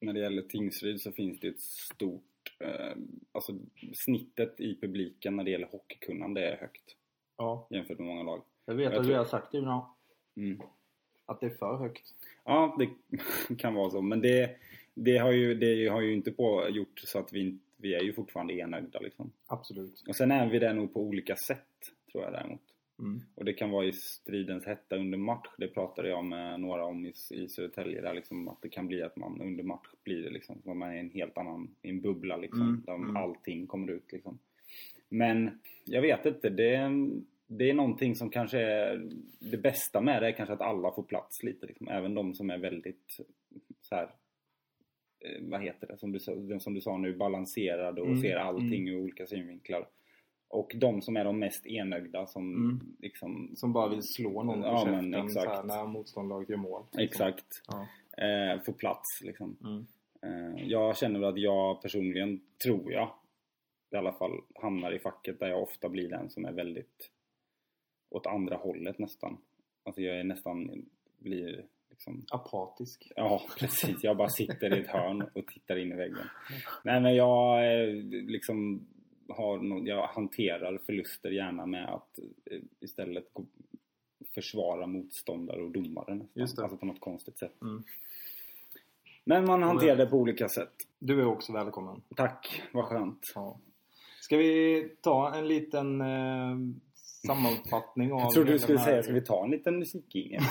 [SPEAKER 2] när det gäller Tingsryd så finns det ett stort... Eh, alltså snittet i publiken när det gäller hockeykunnande är högt
[SPEAKER 1] Ja,
[SPEAKER 2] jämfört med många lag.
[SPEAKER 1] jag vet
[SPEAKER 2] Jag
[SPEAKER 1] att
[SPEAKER 2] tror-
[SPEAKER 1] du har sagt det innan,
[SPEAKER 2] Mm.
[SPEAKER 1] att det är för högt.
[SPEAKER 2] Ja, det kan vara så. Men det, det, har, ju, det har ju inte på gjort så att vi, inte- vi är ju fortfarande enögda liksom.
[SPEAKER 1] Absolut.
[SPEAKER 2] Och sen är vi det nog på olika sätt, tror jag däremot.
[SPEAKER 1] Mm.
[SPEAKER 2] Och det kan vara i stridens hetta under match. Det pratade jag med några om i, i Södertälje där liksom att det kan bli att man under match blir det liksom som att man är i en helt annan, i en bubbla liksom.
[SPEAKER 1] Mm,
[SPEAKER 2] Där
[SPEAKER 1] mm.
[SPEAKER 2] allting kommer ut liksom. Men jag vet inte. Det, är- det är någonting som kanske är det bästa med det är kanske att alla får plats lite liksom. Även de som är väldigt så här. eh, Vad heter det? Som du, sa- den som du sa nu, balanserad och
[SPEAKER 1] Mm,
[SPEAKER 2] ser allting ur olika synvinklar. Och de som är de mest enögda som
[SPEAKER 1] Mm.
[SPEAKER 2] liksom
[SPEAKER 1] Som bara vill slå någon
[SPEAKER 2] Ja,
[SPEAKER 1] på
[SPEAKER 2] men
[SPEAKER 1] käften så
[SPEAKER 2] exakt.
[SPEAKER 1] här, när motståndarlaget gör mål. Liksom.
[SPEAKER 2] Exakt.
[SPEAKER 1] Ja.
[SPEAKER 2] Eh, få plats liksom.
[SPEAKER 1] Mm.
[SPEAKER 2] Eh, jag känner väl att jag personligen, tror jag, i alla fall hamnar i facket där jag ofta blir den som är väldigt åt andra hållet nästan. Alltså jag är nästan, blir liksom
[SPEAKER 1] Apatisk.
[SPEAKER 2] Ja, precis. Jag bara sitter i ett hörn och tittar in i väggen. Nej, men jag eh, liksom har nå- jag hanterar förluster gärna med att eh, istället gå, försvara motståndare och domare nästan.
[SPEAKER 1] Just det.
[SPEAKER 2] Alltså på något konstigt sätt.
[SPEAKER 1] Mm.
[SPEAKER 2] Men man hanterar det på olika sätt.
[SPEAKER 1] Du är också välkommen.
[SPEAKER 2] Tack, vad skönt.
[SPEAKER 1] Ja. Ska vi ta en liten eh, sammanfattning av...
[SPEAKER 2] Jag trodde du
[SPEAKER 1] hela
[SPEAKER 2] skulle
[SPEAKER 1] den här-
[SPEAKER 2] säga, ska vi ta en liten musikjingel?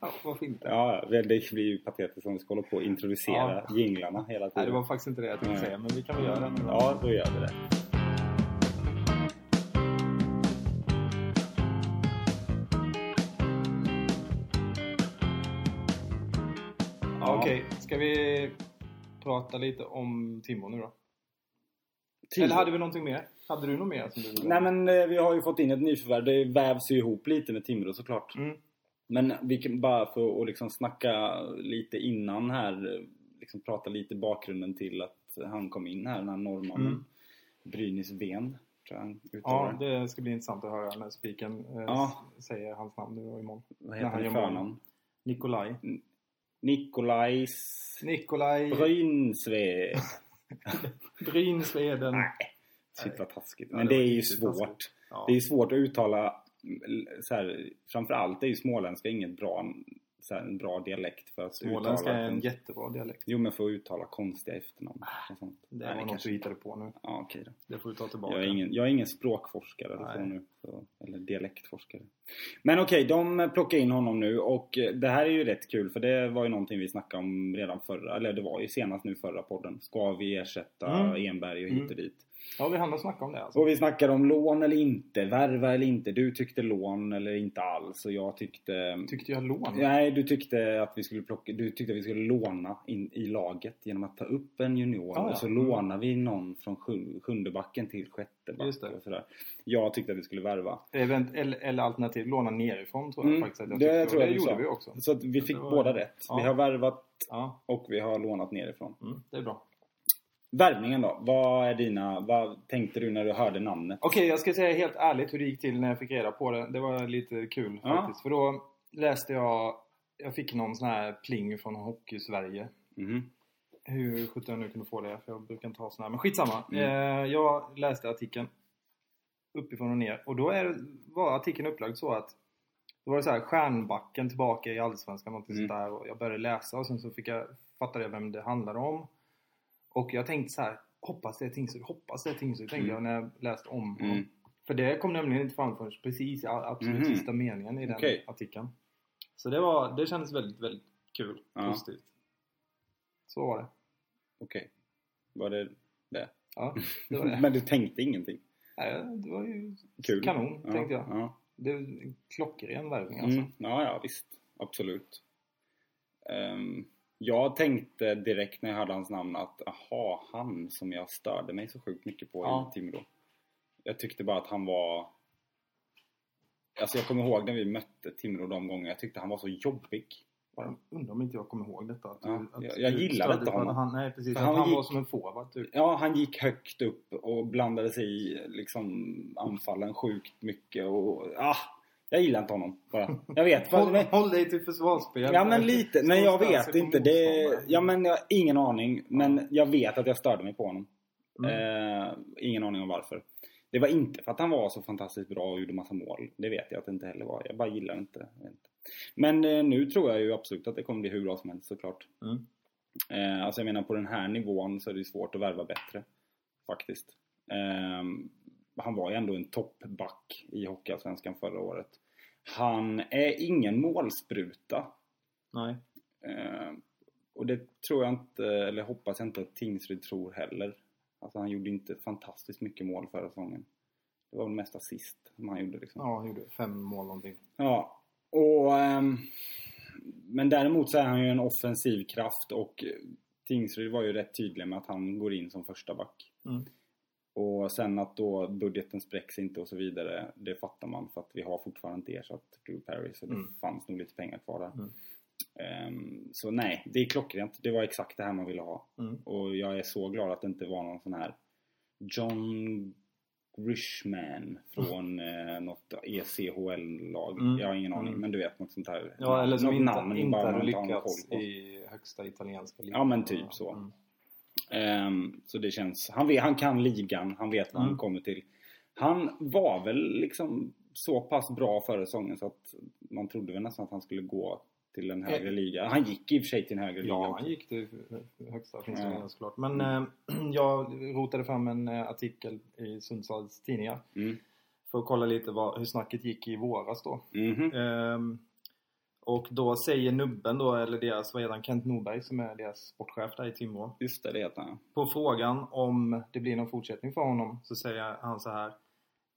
[SPEAKER 1] ja, varför inte?
[SPEAKER 2] Ja, väl, det blir ju patetiskt om vi ska hålla på och introducera jinglarna hela
[SPEAKER 1] Nej, det var
[SPEAKER 2] tiden.
[SPEAKER 1] faktiskt inte det jag tänkte
[SPEAKER 2] Nej.
[SPEAKER 1] säga, men vi kan väl göra det.
[SPEAKER 2] Ja, då gör vi det.
[SPEAKER 1] Ja, Okej, ska vi prata lite om Timrå nu då? Eller hade vi någonting mer? Hade du något mer som du ville?
[SPEAKER 2] Nej men eh, vi har ju fått in ett nyförvärv. Det vävs ju ihop lite med Timrå såklart.
[SPEAKER 1] Mm.
[SPEAKER 2] Men vi kan bara för att liksom snacka lite innan här. eh, Liksom prata lite bakgrunden till att han kom in här, den här norrmannen.
[SPEAKER 1] Mm.
[SPEAKER 2] Brynäs Ven, tror jag han uttalar
[SPEAKER 1] Ja, det ska bli intressant att höra när spiken eh,
[SPEAKER 2] Ja.
[SPEAKER 1] s- säger hans namn nu och imorgon.
[SPEAKER 2] Vad heter
[SPEAKER 1] när han
[SPEAKER 2] han i
[SPEAKER 1] gör mål.
[SPEAKER 2] förnamn?
[SPEAKER 1] Nikolaj.
[SPEAKER 2] Nikolajs...
[SPEAKER 1] Nikolaj
[SPEAKER 2] Brynsve.
[SPEAKER 1] Brynsveden.
[SPEAKER 2] Nej. Shit vad taskigt.
[SPEAKER 1] Ja,
[SPEAKER 2] Men
[SPEAKER 1] det
[SPEAKER 2] det
[SPEAKER 1] var
[SPEAKER 2] är ju
[SPEAKER 1] riktigt taskigt.
[SPEAKER 2] svårt.
[SPEAKER 1] Eh, Ja.
[SPEAKER 2] Det är ju svårt att uttala mm, så här, framförallt är ju småländska inget bra, så här, en bra dialekt för att
[SPEAKER 1] Småländska
[SPEAKER 2] uttala
[SPEAKER 1] är en
[SPEAKER 2] kon-
[SPEAKER 1] jättebra dialekt.
[SPEAKER 2] Jo men för att uttala konstiga efternamn och sånt.
[SPEAKER 1] Det
[SPEAKER 2] Nej,
[SPEAKER 1] var något
[SPEAKER 2] kanske-
[SPEAKER 1] du hittade på nu.
[SPEAKER 2] Ja okej då.
[SPEAKER 1] Det får du ta tillbaka.
[SPEAKER 2] Jag är, ingen, jag är ingen språkforskare eller så
[SPEAKER 1] Nej.
[SPEAKER 2] nu. Så, eller dialektforskare. Men okej, de plockar in honom nu och eh, det här är ju rätt kul för det var ju någonting vi snackade om redan förra, eller det var ju senast nu förra podden. Ska vi ersätta
[SPEAKER 1] Mm.
[SPEAKER 2] Enberg och
[SPEAKER 1] Mm.
[SPEAKER 2] hit och dit?
[SPEAKER 1] Ja, vi hann att snacka om det alltså.
[SPEAKER 2] Och vi snackade om lån eller inte, värva eller inte. Du tyckte lån eller inte alls och jag tyckte...
[SPEAKER 1] Tyckte jag lån?
[SPEAKER 2] Nej, du tyckte att vi skulle plocka, du tyckte att vi skulle låna in i laget genom att ta upp en junior
[SPEAKER 1] Ah, ja.
[SPEAKER 2] och så
[SPEAKER 1] Mm.
[SPEAKER 2] lånar vi någon från sju, sjunde backen till sjätte
[SPEAKER 1] Just det.
[SPEAKER 2] backen och sådär. Jag tyckte att vi skulle värva.
[SPEAKER 1] Event, eller, eller alternativ låna nerifrån tror jag
[SPEAKER 2] Mm,
[SPEAKER 1] faktiskt att jag
[SPEAKER 2] det
[SPEAKER 1] tyckte.
[SPEAKER 2] tror
[SPEAKER 1] och
[SPEAKER 2] jag
[SPEAKER 1] det
[SPEAKER 2] du
[SPEAKER 1] gjorde
[SPEAKER 2] sa.
[SPEAKER 1] vi också.
[SPEAKER 2] Så att vi
[SPEAKER 1] Det
[SPEAKER 2] fick
[SPEAKER 1] var-
[SPEAKER 2] båda rätt.
[SPEAKER 1] ja.
[SPEAKER 2] Vi har värvat
[SPEAKER 1] Ja,
[SPEAKER 2] och vi har lånat nerifrån.
[SPEAKER 1] mm, det är bra.
[SPEAKER 2] Värvningen då? Vad är dina, vad tänkte du när du hörde namnet?
[SPEAKER 1] Okej, jag ska säga helt ärligt hur det gick till när jag fick reda på det. Det var lite kul
[SPEAKER 2] Ja.
[SPEAKER 1] faktiskt. För då läste jag, jag fick någon sån här pling från Hockey-Sverige.
[SPEAKER 2] Mhm.
[SPEAKER 1] Hur sjutton jag nu kunde få det, för jag brukar inte ha sån här. Men skitsamma.
[SPEAKER 2] Mm.
[SPEAKER 1] Eh, jag läste artikeln uppifrån och ner. Och då är, det- var artikeln upplagd så att då var det så här, Stjärnbacken tillbaka i Allsvenskan, något
[SPEAKER 2] Mm.
[SPEAKER 1] sånt där. Och jag började läsa och sen så fick jag, fattade jag vem det handlade om. Och jag tänkte så här, hoppas det är Tingsryd, hoppas det är Tingsryd, tänkte
[SPEAKER 2] Mm.
[SPEAKER 1] jag när jag läste om honom.
[SPEAKER 2] Mm.
[SPEAKER 1] För det kom nämligen inte fram förrän precis i all- absolut
[SPEAKER 2] Mhm.
[SPEAKER 1] sista meningen i den
[SPEAKER 2] Okej.
[SPEAKER 1] artikeln. Så det, var, det kändes väldigt, väldigt kul.
[SPEAKER 2] Ja.
[SPEAKER 1] Positivt. Så var det.
[SPEAKER 2] Okej. Var det det?
[SPEAKER 1] Ja, det var det.
[SPEAKER 2] Men du tänkte ingenting?
[SPEAKER 1] Nej, det var ju
[SPEAKER 2] Kul.
[SPEAKER 1] kanon,
[SPEAKER 2] Ja,
[SPEAKER 1] tänkte jag.
[SPEAKER 2] Ja.
[SPEAKER 1] Det är en klockren värvning alltså.
[SPEAKER 2] Mm. ja, ja visst. Absolut. Ehm, jag tänkte direkt när jag hörde hans namn att aha, han som jag störde mig så sjukt mycket på
[SPEAKER 1] Ja.
[SPEAKER 2] i Timrå. Jag tyckte bara att han var... Alltså jag kommer ihåg när vi mötte Timrå de gånger. Jag tyckte han var så jobbig.
[SPEAKER 1] Bara, undrar om inte jag kommer ihåg detta. Att, du-
[SPEAKER 2] Ja,
[SPEAKER 1] att
[SPEAKER 2] jag- jag
[SPEAKER 1] du
[SPEAKER 2] gillade
[SPEAKER 1] stödde
[SPEAKER 2] inte honom.
[SPEAKER 1] Han, nej, precis.
[SPEAKER 2] För
[SPEAKER 1] Att han,
[SPEAKER 2] han
[SPEAKER 1] var
[SPEAKER 2] gick-
[SPEAKER 1] som en forward typ.
[SPEAKER 2] Ja, han gick högt upp och blandade sig i liksom, anfallen sjukt mycket och... Ah, jag gillar inte honom bara. Jag vet.
[SPEAKER 1] Håll,
[SPEAKER 2] men-
[SPEAKER 1] håll dig till försvarsspel.
[SPEAKER 2] Ja men lite,
[SPEAKER 1] Stå
[SPEAKER 2] men jag
[SPEAKER 1] och stöd sig
[SPEAKER 2] vet
[SPEAKER 1] på
[SPEAKER 2] inte. Det,
[SPEAKER 1] motståndaren.
[SPEAKER 2] ja men jag har ingen aning. Men jag vet att jag störde mig på honom.
[SPEAKER 1] Mm.
[SPEAKER 2] Eh, ingen aning om varför. Det var inte för att han var så fantastiskt bra och gjorde massa mål. Det vet jag att det inte heller var. Jag bara gillar inte. jag vet inte. Men eh, nu tror jag ju absolut att det kommer bli hur bra som helst såklart.
[SPEAKER 1] Mm.
[SPEAKER 2] Eh, alltså jag menar på den här nivån så är det ju svårt att värva bättre. Faktiskt. Ehm, han var ju ändå en toppback i Hockeyallsvenskan förra året. Han är ingen målspruta.
[SPEAKER 1] Nej.
[SPEAKER 2] Eh, och det tror jag inte, eller hoppas jag inte att Tingsryd tror heller. Alltså han gjorde inte fantastiskt mycket mål förra säsongen. Det var väl mest assist som han gjorde liksom.
[SPEAKER 1] Ja, han gjorde fem mål någonting.
[SPEAKER 2] Ja, och... ehm, men däremot så är han ju en offensiv kraft och Tingsryd var ju rätt tydlig med att han går in som första back.
[SPEAKER 1] Mm.
[SPEAKER 2] Och sen att då budgeten spräcks inte och så vidare, det fattar man för att vi har fortfarande inte ersatt Drew Perry så det
[SPEAKER 1] Mm.
[SPEAKER 2] fanns nog lite pengar kvar där.
[SPEAKER 1] Mm.
[SPEAKER 2] Ehm, så nej, det är klockrent. Det var exakt det här man ville ha.
[SPEAKER 1] Mm.
[SPEAKER 2] Och jag är så glad att det inte var någon sån här John Grishman från eh, något ECHL-lag.
[SPEAKER 1] Mm,
[SPEAKER 2] Jag har ingen aning,
[SPEAKER 1] mm.
[SPEAKER 2] men du vet något sånt här.
[SPEAKER 1] Ja, eller som
[SPEAKER 2] något
[SPEAKER 1] inte, inte
[SPEAKER 2] bara man
[SPEAKER 1] hade
[SPEAKER 2] inte har någon
[SPEAKER 1] lyckats
[SPEAKER 2] koll på.
[SPEAKER 1] i högsta italienska Mm.
[SPEAKER 2] Ja, men typ så. Ehm, så det känns... Han, vet, han kan ligan, han vet vad
[SPEAKER 1] Mm.
[SPEAKER 2] han kommer till. Han var väl liksom så pass bra före säsongen så att man trodde väl nästan att han skulle gå till en högre
[SPEAKER 1] Eh.
[SPEAKER 2] liga. Han gick i och för sig till en högre liga
[SPEAKER 1] Ja, Mm.
[SPEAKER 2] också.
[SPEAKER 1] han gick till högsta
[SPEAKER 2] Ja.
[SPEAKER 1] finska ja. såklart. Men eh, jag rotade fram en eh, artikel i Sundsvalls tidningar
[SPEAKER 2] Mm.
[SPEAKER 1] för att kolla lite vad, hur snacket gick i våras då.
[SPEAKER 2] Mhm.
[SPEAKER 1] Ehm, och då säger nubben då, eller deras, vad heter han, Kent Norberg som är deras sportchef där i Timrå.
[SPEAKER 2] Just det, det heter han.
[SPEAKER 1] På frågan om det blir någon fortsättning för honom så säger han så här.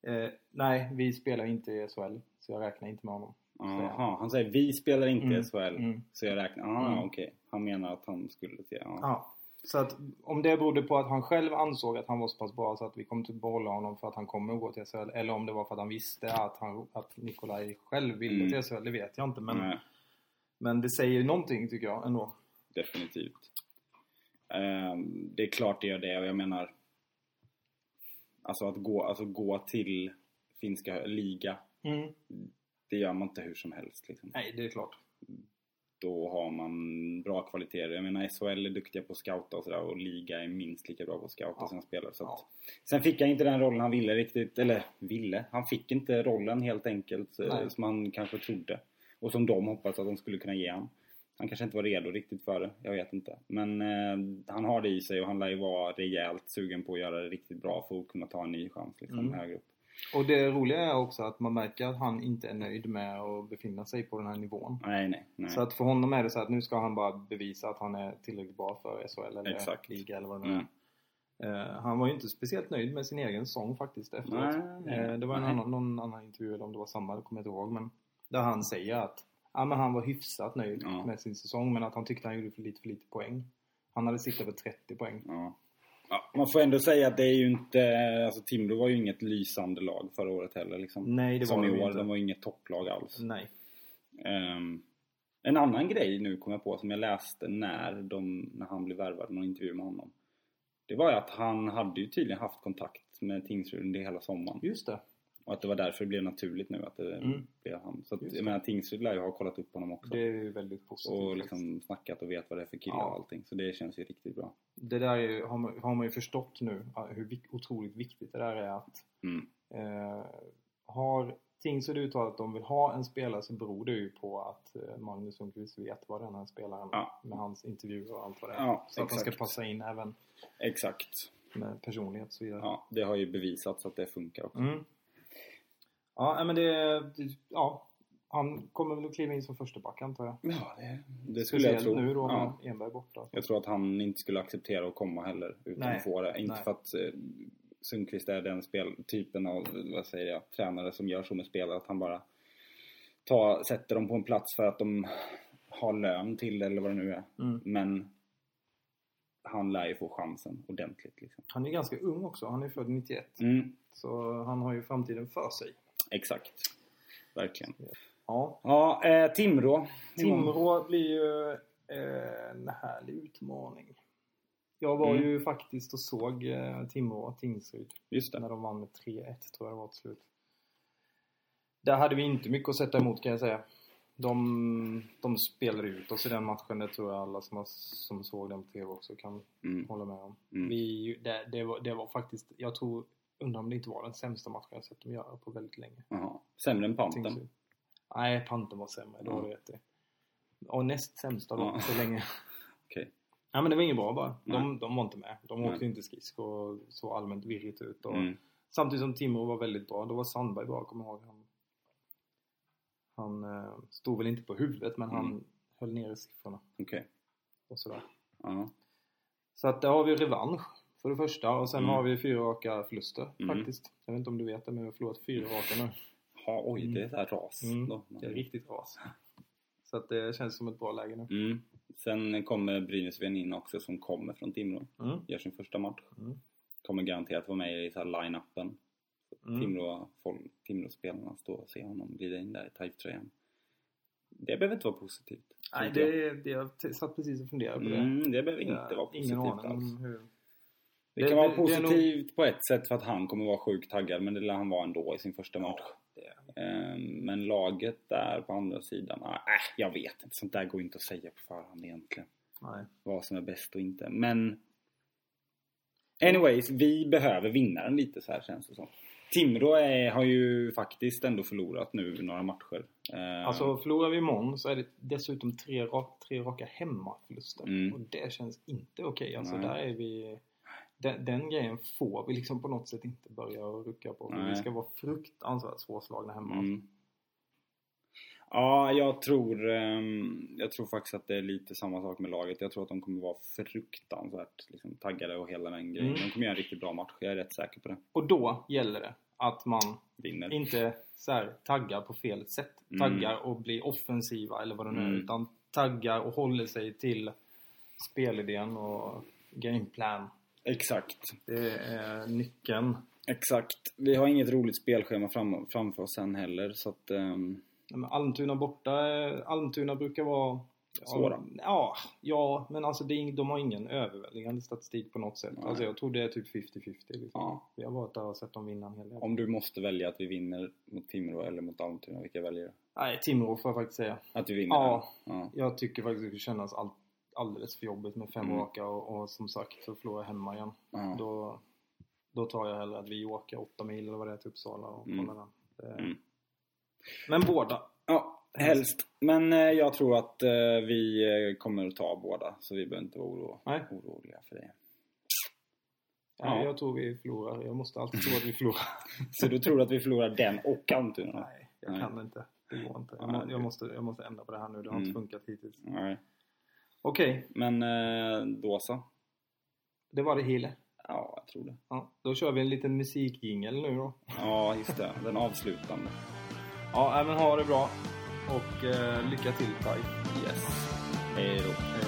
[SPEAKER 1] Eh, nej, vi spelar inte i SHL, så jag räknar inte med honom.
[SPEAKER 2] Aha, han säger vi spelar inte i
[SPEAKER 1] Mm,
[SPEAKER 2] SHL.
[SPEAKER 1] mm.
[SPEAKER 2] Så jag räknar... Ah,
[SPEAKER 1] Mm.
[SPEAKER 2] okej. Han menar att han skulle till... Ja.
[SPEAKER 1] Ja. Så att om det berodde på att han själv ansåg att han var så pass bra så att vi kommer inte behålla honom för att han kommer att gå till SHL. Eller om det var för att han visste att, han, att Nikolaj själv ville
[SPEAKER 2] Mm.
[SPEAKER 1] till SHL, det vet jag inte. Men,
[SPEAKER 2] Nej,
[SPEAKER 1] men det säger ju någonting tycker jag ändå.
[SPEAKER 2] definitivt. Ehm, det är klart det gör det och jag menar... Alltså att gå, alltså gå till finska hö- liga, Mm. det gör man inte hur som helst. Liksom.
[SPEAKER 1] Nej, det är klart.
[SPEAKER 2] Då har man bra kvaliteter. Jag menar SHL är duktiga på att scouta och sådär och liga är minst lika bra på att scouta
[SPEAKER 1] Ja.
[SPEAKER 2] sina spelare. Så att,
[SPEAKER 1] Ja.
[SPEAKER 2] Sen fick han inte den rollen han ville riktigt, eller ville, han fick inte rollen helt enkelt eh,
[SPEAKER 1] Nej.
[SPEAKER 2] som han kanske trodde. Och som de hoppades att de skulle kunna ge han. Han kanske inte var redo riktigt för det, jag vet inte. Men eh, han har det i sig och han lär ju vara rejält sugen på att göra det riktigt bra för att kunna ta en ny chans liksom,
[SPEAKER 1] Mm.
[SPEAKER 2] högre upp.
[SPEAKER 1] Och det roliga är också att man märker att han inte är nöjd med att befinna sig på den här nivån.
[SPEAKER 2] Nej, nej, nej.
[SPEAKER 1] Så att för honom är det så att nu ska han bara bevisa att han är tillräckligt bra för SHL eller
[SPEAKER 2] Exakt.
[SPEAKER 1] liga eller vad det nu är.
[SPEAKER 2] Mm.
[SPEAKER 1] Eh, han var ju inte speciellt nöjd med sin egen sång faktiskt efteråt.
[SPEAKER 2] Nej, nej,
[SPEAKER 1] Eh, det var en
[SPEAKER 2] nej.
[SPEAKER 1] annan, någon annan intervju, eller om det var samma, det kommer jag inte ihåg. Men där han säger att ja, men han var hyfsat nöjd
[SPEAKER 2] Ja.
[SPEAKER 1] med sin säsong, men att han tyckte han gjorde för lite för lite poäng. Han hade siktat på 30 poäng.
[SPEAKER 2] Ja. Ja, man får ändå säga att det är ju inte... Alltså Timrå var ju inget lysande lag förra året heller. Liksom.
[SPEAKER 1] Nej, det
[SPEAKER 2] Som
[SPEAKER 1] var
[SPEAKER 2] i
[SPEAKER 1] de ju
[SPEAKER 2] år,
[SPEAKER 1] inte. Mm.
[SPEAKER 2] de var ju inget topplag alls.
[SPEAKER 1] Nej.
[SPEAKER 2] Ehm, en annan grej nu kom jag på som jag läste när, de, när han blev värvad, någon intervju med honom. Det var ju att han hade ju tydligen haft kontakt med Tingsryd under hela sommaren.
[SPEAKER 1] Just det.
[SPEAKER 2] Och att det var därför det blev naturligt nu att det
[SPEAKER 1] Mm.
[SPEAKER 2] blev han. Så att,
[SPEAKER 1] Just
[SPEAKER 2] jag
[SPEAKER 1] det.
[SPEAKER 2] menar Tingsryd lär ju ha kollat upp honom också.
[SPEAKER 1] Det är ju väldigt positivt.
[SPEAKER 2] och
[SPEAKER 1] faktiskt.
[SPEAKER 2] liksom snackat och vet vad det är för killar
[SPEAKER 1] Ja.
[SPEAKER 2] och allting. Så det känns ju riktigt bra.
[SPEAKER 1] Det där är, ju- har, man, har man ju förstått nu, ja, hur vik- otroligt viktigt det där är att
[SPEAKER 2] Mm.
[SPEAKER 1] eh, har Tingsryd uttalat att de vill ha en spelare så beror det ju på att eh, Magnus Sundqvist vet vad den här spelaren
[SPEAKER 2] Ja.
[SPEAKER 1] med hans intervjuer och allt vad det är.
[SPEAKER 2] Ja,
[SPEAKER 1] så att han ska
[SPEAKER 2] exakt.
[SPEAKER 1] passa in även
[SPEAKER 2] Exakt.
[SPEAKER 1] med personlighet och så vidare.
[SPEAKER 2] Ja, det har ju bevisats att det funkar också.
[SPEAKER 1] Mm. Ja, nej, men det... Ja, han kommer väl att kliva in som försteback antar jag.
[SPEAKER 2] Ja, det, det skulle jag
[SPEAKER 1] Speciellt
[SPEAKER 2] tro.
[SPEAKER 1] nu då
[SPEAKER 2] ja.
[SPEAKER 1] med Enberg borta.
[SPEAKER 2] Jag tror att han inte skulle acceptera att komma heller utan
[SPEAKER 1] Nej.
[SPEAKER 2] att få det. Inte
[SPEAKER 1] Nej.
[SPEAKER 2] för att eh, Sundqvist är den speltypen av, vad säger jag, tränare som gör så med spelare att han bara tar, sätter dem på en plats för att de har lön till det eller vad det nu är.
[SPEAKER 1] Mm.
[SPEAKER 2] Men han lär ju få chansen ordentligt liksom.
[SPEAKER 1] Han är ganska ung också. Han är född 91.
[SPEAKER 2] Mm,
[SPEAKER 1] Så han har ju framtiden för sig.
[SPEAKER 2] exakt. Verkligen.
[SPEAKER 1] Ja.
[SPEAKER 2] Ja, eh, Timrå.
[SPEAKER 1] Timrå blir ju eh, en härlig utmaning. Jag var
[SPEAKER 2] Mm.
[SPEAKER 1] ju faktiskt och såg eh, Timrå och Tingsryd
[SPEAKER 2] Just det.
[SPEAKER 1] när de vann med 3-1 tror jag det var till slut. Där hade vi inte mycket att sätta emot kan jag säga. De, de spelade ut oss i den matchen, det tror jag alla som, har, som såg den på TV också kan
[SPEAKER 2] Mm,
[SPEAKER 1] hålla med om.
[SPEAKER 2] mm.
[SPEAKER 1] Vi, det, det, var, det var faktiskt, jag tror, undrar om det inte var den sämsta matchen jag sett dem göra på väldigt länge.
[SPEAKER 2] Jaha. Sämre än Panten.
[SPEAKER 1] Tingsryd. Nej, Panten var sämre, då har du rätt i. Och näst sämsta då,
[SPEAKER 2] Ja.
[SPEAKER 1] så länge.
[SPEAKER 2] Okej.
[SPEAKER 1] Nej men det var inget bra bara.
[SPEAKER 2] Nej.
[SPEAKER 1] De, de var inte med. De
[SPEAKER 2] Nej.
[SPEAKER 1] åkte inte skridskor och såg allmänt virrigt ut. Och
[SPEAKER 2] Mm.
[SPEAKER 1] Samtidigt som Timrå var väldigt bra. Då var Sandberg bra, kommer jag ihåg. Han, han eh, stod väl inte på huvudet, men han
[SPEAKER 2] Mm.
[SPEAKER 1] höll nere siffrorna.
[SPEAKER 2] Okej.
[SPEAKER 1] Och sådär.
[SPEAKER 2] Ja.
[SPEAKER 1] Så att där har vi revansch för det första och sen
[SPEAKER 2] Mm.
[SPEAKER 1] har vi fyra raka förluster
[SPEAKER 2] Mm.
[SPEAKER 1] faktiskt. Jag vet inte om du vet det men vi har förlorat fyra raka nu.
[SPEAKER 2] Ha, oj, det är så här ras.
[SPEAKER 1] Mm.
[SPEAKER 2] Då.
[SPEAKER 1] Det är riktigt ras. Så att det känns som ett bra läge nu.
[SPEAKER 2] Mm. Sen kommer Brynäs in också som kommer från Timrå.
[SPEAKER 1] Mm.
[SPEAKER 2] Gör sin första match.
[SPEAKER 1] Mm.
[SPEAKER 2] Kommer garanterat vara med i så här line-upen.
[SPEAKER 1] Mm.
[SPEAKER 2] Timrå, folk, Timråspelarna står och ser honom glida in där i Taif-tröjan. Det behöver inte vara positivt.
[SPEAKER 1] Nej,
[SPEAKER 2] tänker jag.
[SPEAKER 1] det, det, jag t- satt precis och funderade på det.
[SPEAKER 2] Mm, det behöver
[SPEAKER 1] Jag
[SPEAKER 2] inte
[SPEAKER 1] har
[SPEAKER 2] vara positivt
[SPEAKER 1] Ingen aning
[SPEAKER 2] alls.
[SPEAKER 1] om hur...
[SPEAKER 2] Det
[SPEAKER 1] Det-
[SPEAKER 2] kan
[SPEAKER 1] det-
[SPEAKER 2] vara
[SPEAKER 1] det är nog-
[SPEAKER 2] positivt på ett sätt för att han kommer vara sjukt taggad men det lär han vara ändå i sin första match.
[SPEAKER 1] det-
[SPEAKER 2] Ehm, Men laget där på andra sidan, ah, äh, jag vet inte. Sånt där går inte att säga på förhand egentligen.
[SPEAKER 1] Nej.
[SPEAKER 2] Vad som är bäst och inte. Men... Anyways, vi behöver vinnaren lite så här känns det som. Timrå är, har ju faktiskt ändå förlorat nu några matcher. Ehm,
[SPEAKER 1] Alltså förlorar vi imorgon så är det dessutom tre, rak, tre raka hemmaförluster.
[SPEAKER 2] Mm.
[SPEAKER 1] Och det känns inte okej. Alltså
[SPEAKER 2] Nej.
[SPEAKER 1] där är vi... Den, den grejen får vi liksom på något sätt inte börja rucka på. För
[SPEAKER 2] Nej.
[SPEAKER 1] vi ska vara fruktansvärt svårslagna hemma.
[SPEAKER 2] Mm. Ja, jag tror, ehm, jag tror faktiskt att det är lite samma sak med laget. Jag tror att de kommer vara fruktansvärt liksom, taggade och hela den grejen.
[SPEAKER 1] Mm.
[SPEAKER 2] De kommer göra en riktigt bra match, jag är rätt säker på det.
[SPEAKER 1] Och då gäller det att man
[SPEAKER 2] Vinner.
[SPEAKER 1] inte så här, taggar på fel sätt.
[SPEAKER 2] Mm.
[SPEAKER 1] Taggar och blir offensiva eller vad det nu är.
[SPEAKER 2] Mm.
[SPEAKER 1] Utan taggar och håller sig till spelidén och gameplan.
[SPEAKER 2] Exakt.
[SPEAKER 1] Det är nyckeln.
[SPEAKER 2] Exakt. Vi har inget roligt spelschema fram, framför oss sen heller så att... ehm,
[SPEAKER 1] Nej, Men Almtuna borta, eh, Almtuna brukar vara...
[SPEAKER 2] Svåra.
[SPEAKER 1] Ja, ja, men alltså det är, ing- de har ingen överväldigande statistik på något sätt.
[SPEAKER 2] Nej.
[SPEAKER 1] Alltså jag tror det är typ 50-50. Liksom.
[SPEAKER 2] ja.
[SPEAKER 1] Vi har varit där och sett dem vinna en hel del.
[SPEAKER 2] Om du måste välja att vi vinner mot Timrå eller mot Almtuna, vilka väljer du?
[SPEAKER 1] Nej, Timrå får jag faktiskt säga.
[SPEAKER 2] Att vi vinner?
[SPEAKER 1] Ja.
[SPEAKER 2] ja.
[SPEAKER 1] Jag tycker faktiskt det kännas all, alldeles för jobbigt med fem
[SPEAKER 2] Mm.
[SPEAKER 1] raka och, och som sagt så förlorar jag hemma igen.
[SPEAKER 2] ja.
[SPEAKER 1] Då, då tar jag hellre att vi åker åtta mil eller vad det är till Uppsala och
[SPEAKER 2] Mm.
[SPEAKER 1] kollar den. Det-
[SPEAKER 2] Mm.
[SPEAKER 1] Men båda.
[SPEAKER 2] Ja, helst. Men eh, jag tror att eh, vi eh, kommer att ta båda, så vi behöver inte vara oro-
[SPEAKER 1] Nej.
[SPEAKER 2] oroliga för det.
[SPEAKER 1] Nej,
[SPEAKER 2] Ja.
[SPEAKER 1] Jag tror vi förlorar. Jag måste alltid tro att vi förlorar.
[SPEAKER 2] Så du tror att vi förlorar den och Almtuna?
[SPEAKER 1] Nej, jag
[SPEAKER 2] Nej.
[SPEAKER 1] kan inte. Det går inte. Jag,
[SPEAKER 2] Nej,
[SPEAKER 1] må,
[SPEAKER 2] okej.
[SPEAKER 1] jag, måste, jag måste ändra på det här nu. Det har inte
[SPEAKER 2] Mm.
[SPEAKER 1] funkat hittills.
[SPEAKER 2] Nej.
[SPEAKER 1] Okej,
[SPEAKER 2] Men eh, då så.
[SPEAKER 1] det var det hela.
[SPEAKER 2] Ja, jag tror det.
[SPEAKER 1] Ja, då kör vi en liten musikjingel nu då.
[SPEAKER 2] Ja, just det. Den avslutande.
[SPEAKER 1] Ja, nej, men ha det bra. Och eh, lycka till Kaj.
[SPEAKER 2] Yes. Hej då.